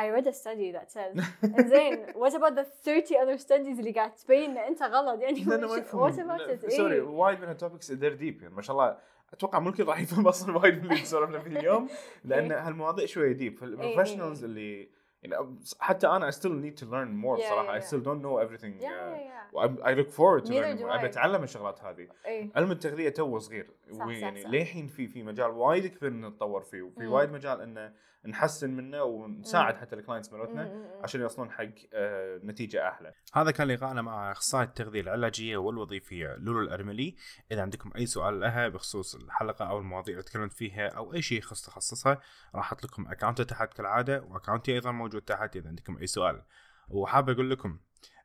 [SPEAKER 2] I read a study that says زين what about the 30 other studies اللي قاعد تبين ان انت غلط يعني
[SPEAKER 1] لانه ما
[SPEAKER 2] وش-
[SPEAKER 1] يفهمون.
[SPEAKER 2] what about
[SPEAKER 1] لا، Oh
[SPEAKER 2] it
[SPEAKER 1] سوري
[SPEAKER 2] إيه.
[SPEAKER 1] وايد من التوبكس ذير ديب يعني ما شاء الله اتوقع مو الكل راح يفهم اصلا وايد من اللي سولفنا فيه اليوم لان
[SPEAKER 2] إيه.
[SPEAKER 1] هالمواضيع شويه ديب فالبروفيشنالز اللي يعني حتى انا I still need to learn more
[SPEAKER 2] Yeah,
[SPEAKER 1] صراحه I
[SPEAKER 2] yeah, yeah.
[SPEAKER 1] still don't know everything
[SPEAKER 2] Yeah,
[SPEAKER 1] uh,
[SPEAKER 2] yeah, yeah.
[SPEAKER 1] I I look forward to
[SPEAKER 2] Neither
[SPEAKER 1] learning
[SPEAKER 2] do
[SPEAKER 1] more
[SPEAKER 2] I.
[SPEAKER 1] ابي اتعلم الشغلات هذه
[SPEAKER 2] إيه.
[SPEAKER 1] علم التغذيه توه صغير
[SPEAKER 2] صح،
[SPEAKER 1] ويعني
[SPEAKER 2] صح.
[SPEAKER 1] للحين في في مجال وايد كبير إن نتطور فيه وفي
[SPEAKER 2] مم.
[SPEAKER 1] وايد مجال انه نحسن منه ونساعد حتى الكلاينتس مالتنا
[SPEAKER 2] م- م- م.
[SPEAKER 1] عشان يوصلون حق آه، نتيجه احلى. هذا كان لقاءنا مع اخصائي التغذيه العلاجيه والوظيفيه لولو الارملي، اذا عندكم اي سؤال لها بخصوص الحلقه او المواضيع اللي تكلمت فيها او اي شيء يخص تخصصها راح احط لكم اكونته تحت كالعاده واكونتي ايضا موجود تحت اذا عندكم اي سؤال. وحاب اقول لكم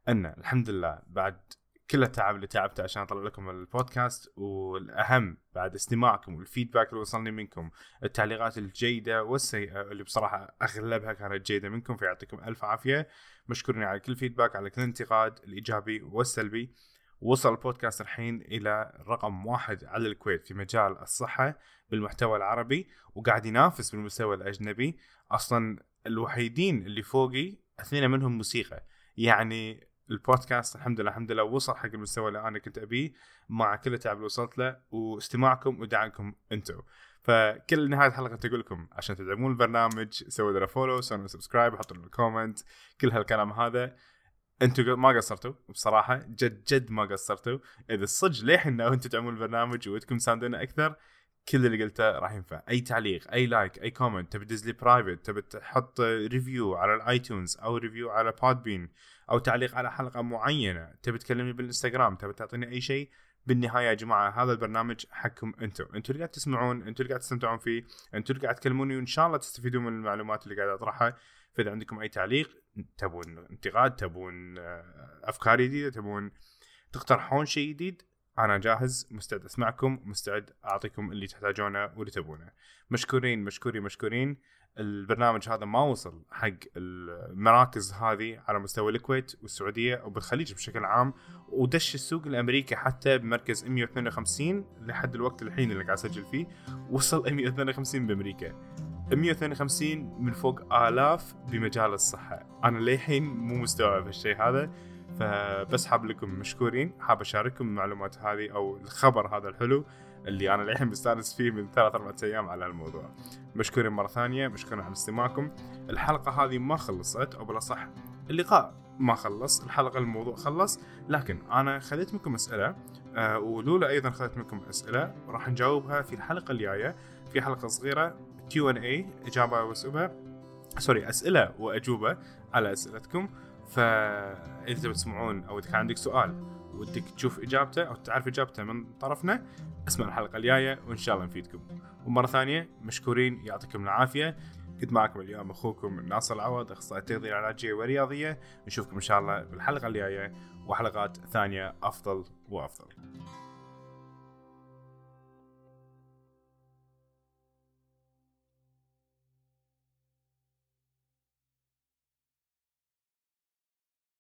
[SPEAKER 1] ان الحمد لله بعد كل التعب اللي تعبته عشان اطلع لكم البودكاست والاهم بعد استماعكم والفيدباك اللي وصلني منكم التعليقات الجيده والسيئه اللي بصراحه اغلبها كانت جيده منكم فيعطيكم الف عافيه مشكورين على كل فيدباك على كل انتقاد الايجابي والسلبي وصل البودكاست الحين الى رقم واحد على الكويت في مجال الصحه بالمحتوى العربي وقاعد ينافس بالمستوى الاجنبي اصلا الوحيدين اللي فوقي اثنين منهم موسيقى يعني البودكاست الحمد لله الحمد لله وصل حق المستوى اللي انا كنت ابيه مع كل التعب اللي وصلت له واستماعكم ودعمكم انتم فكل نهايه الحلقه تقول لكم عشان تدعمون البرنامج سووا له فولو سووا له سبسكرايب حطوا له كومنت كل هالكلام هذا انتم ما قصرتوا بصراحه جد جد ما قصرتوا اذا الصج للحين ناويين تدعمون البرنامج ودكم تساندونا اكثر كل اللي قلته راح ينفع اي تعليق اي لايك اي كومنت تبي تدز لي برايفت تبي تحط ريفيو على الايتونز او ريفيو على بين او تعليق على حلقه معينه تبي تكلمني بالانستغرام تبي تعطيني اي شيء بالنهايه يا جماعه هذا البرنامج حقكم انتم انتم اللي قاعد تسمعون انتم اللي قاعد تستمتعون فيه انتم اللي قاعد تكلموني وان شاء الله تستفيدون من المعلومات اللي قاعد اطرحها فاذا عندكم اي تعليق تبون انتقاد تبون آه، افكار جديده تبون تقترحون شيء جديد انا جاهز مستعد اسمعكم مستعد اعطيكم اللي تحتاجونه واللي تبونه مشكورين مشكورين مشكورين البرنامج هذا ما وصل حق المراكز هذه على مستوى الكويت والسعوديه وبالخليج بشكل عام ودش السوق الامريكي حتى بمركز 152 لحد الوقت الحين اللي قاعد اسجل فيه وصل 152 بامريكا 152 من فوق آلاف بمجال الصحة أنا للحين مو مستوعب هالشيء هذا فبس حاب لكم مشكورين حاب أشارككم المعلومات هذه أو الخبر هذا الحلو اللي أنا للحين مستانس فيه من ثلاث أربعة أيام على الموضوع مشكورين مرة ثانية مشكورين على استماعكم الحلقة هذه ما خلصت أو بالأصح اللقاء ما خلص الحلقة الموضوع خلص لكن أنا خذيت منكم أسئلة آه، ولولا ايضا اخذت منكم اسئله وراح نجاوبها في الحلقه الجايه في حلقه صغيره كيو ان اي اجابه واجوبه سوري اسئله واجوبه على اسئلتكم فاذا تبي تسمعون او اذا كان عندك سؤال ودك تشوف اجابته او تعرف اجابته من طرفنا اسمع الحلقه الجايه وان شاء الله نفيدكم ومره ثانيه مشكورين يعطيكم العافيه كنت معكم اليوم اخوكم ناصر العوض اخصائي تغذيه علاجيه ورياضيه نشوفكم ان شاء الله بالحلقه الجايه وحلقات ثانيه افضل وافضل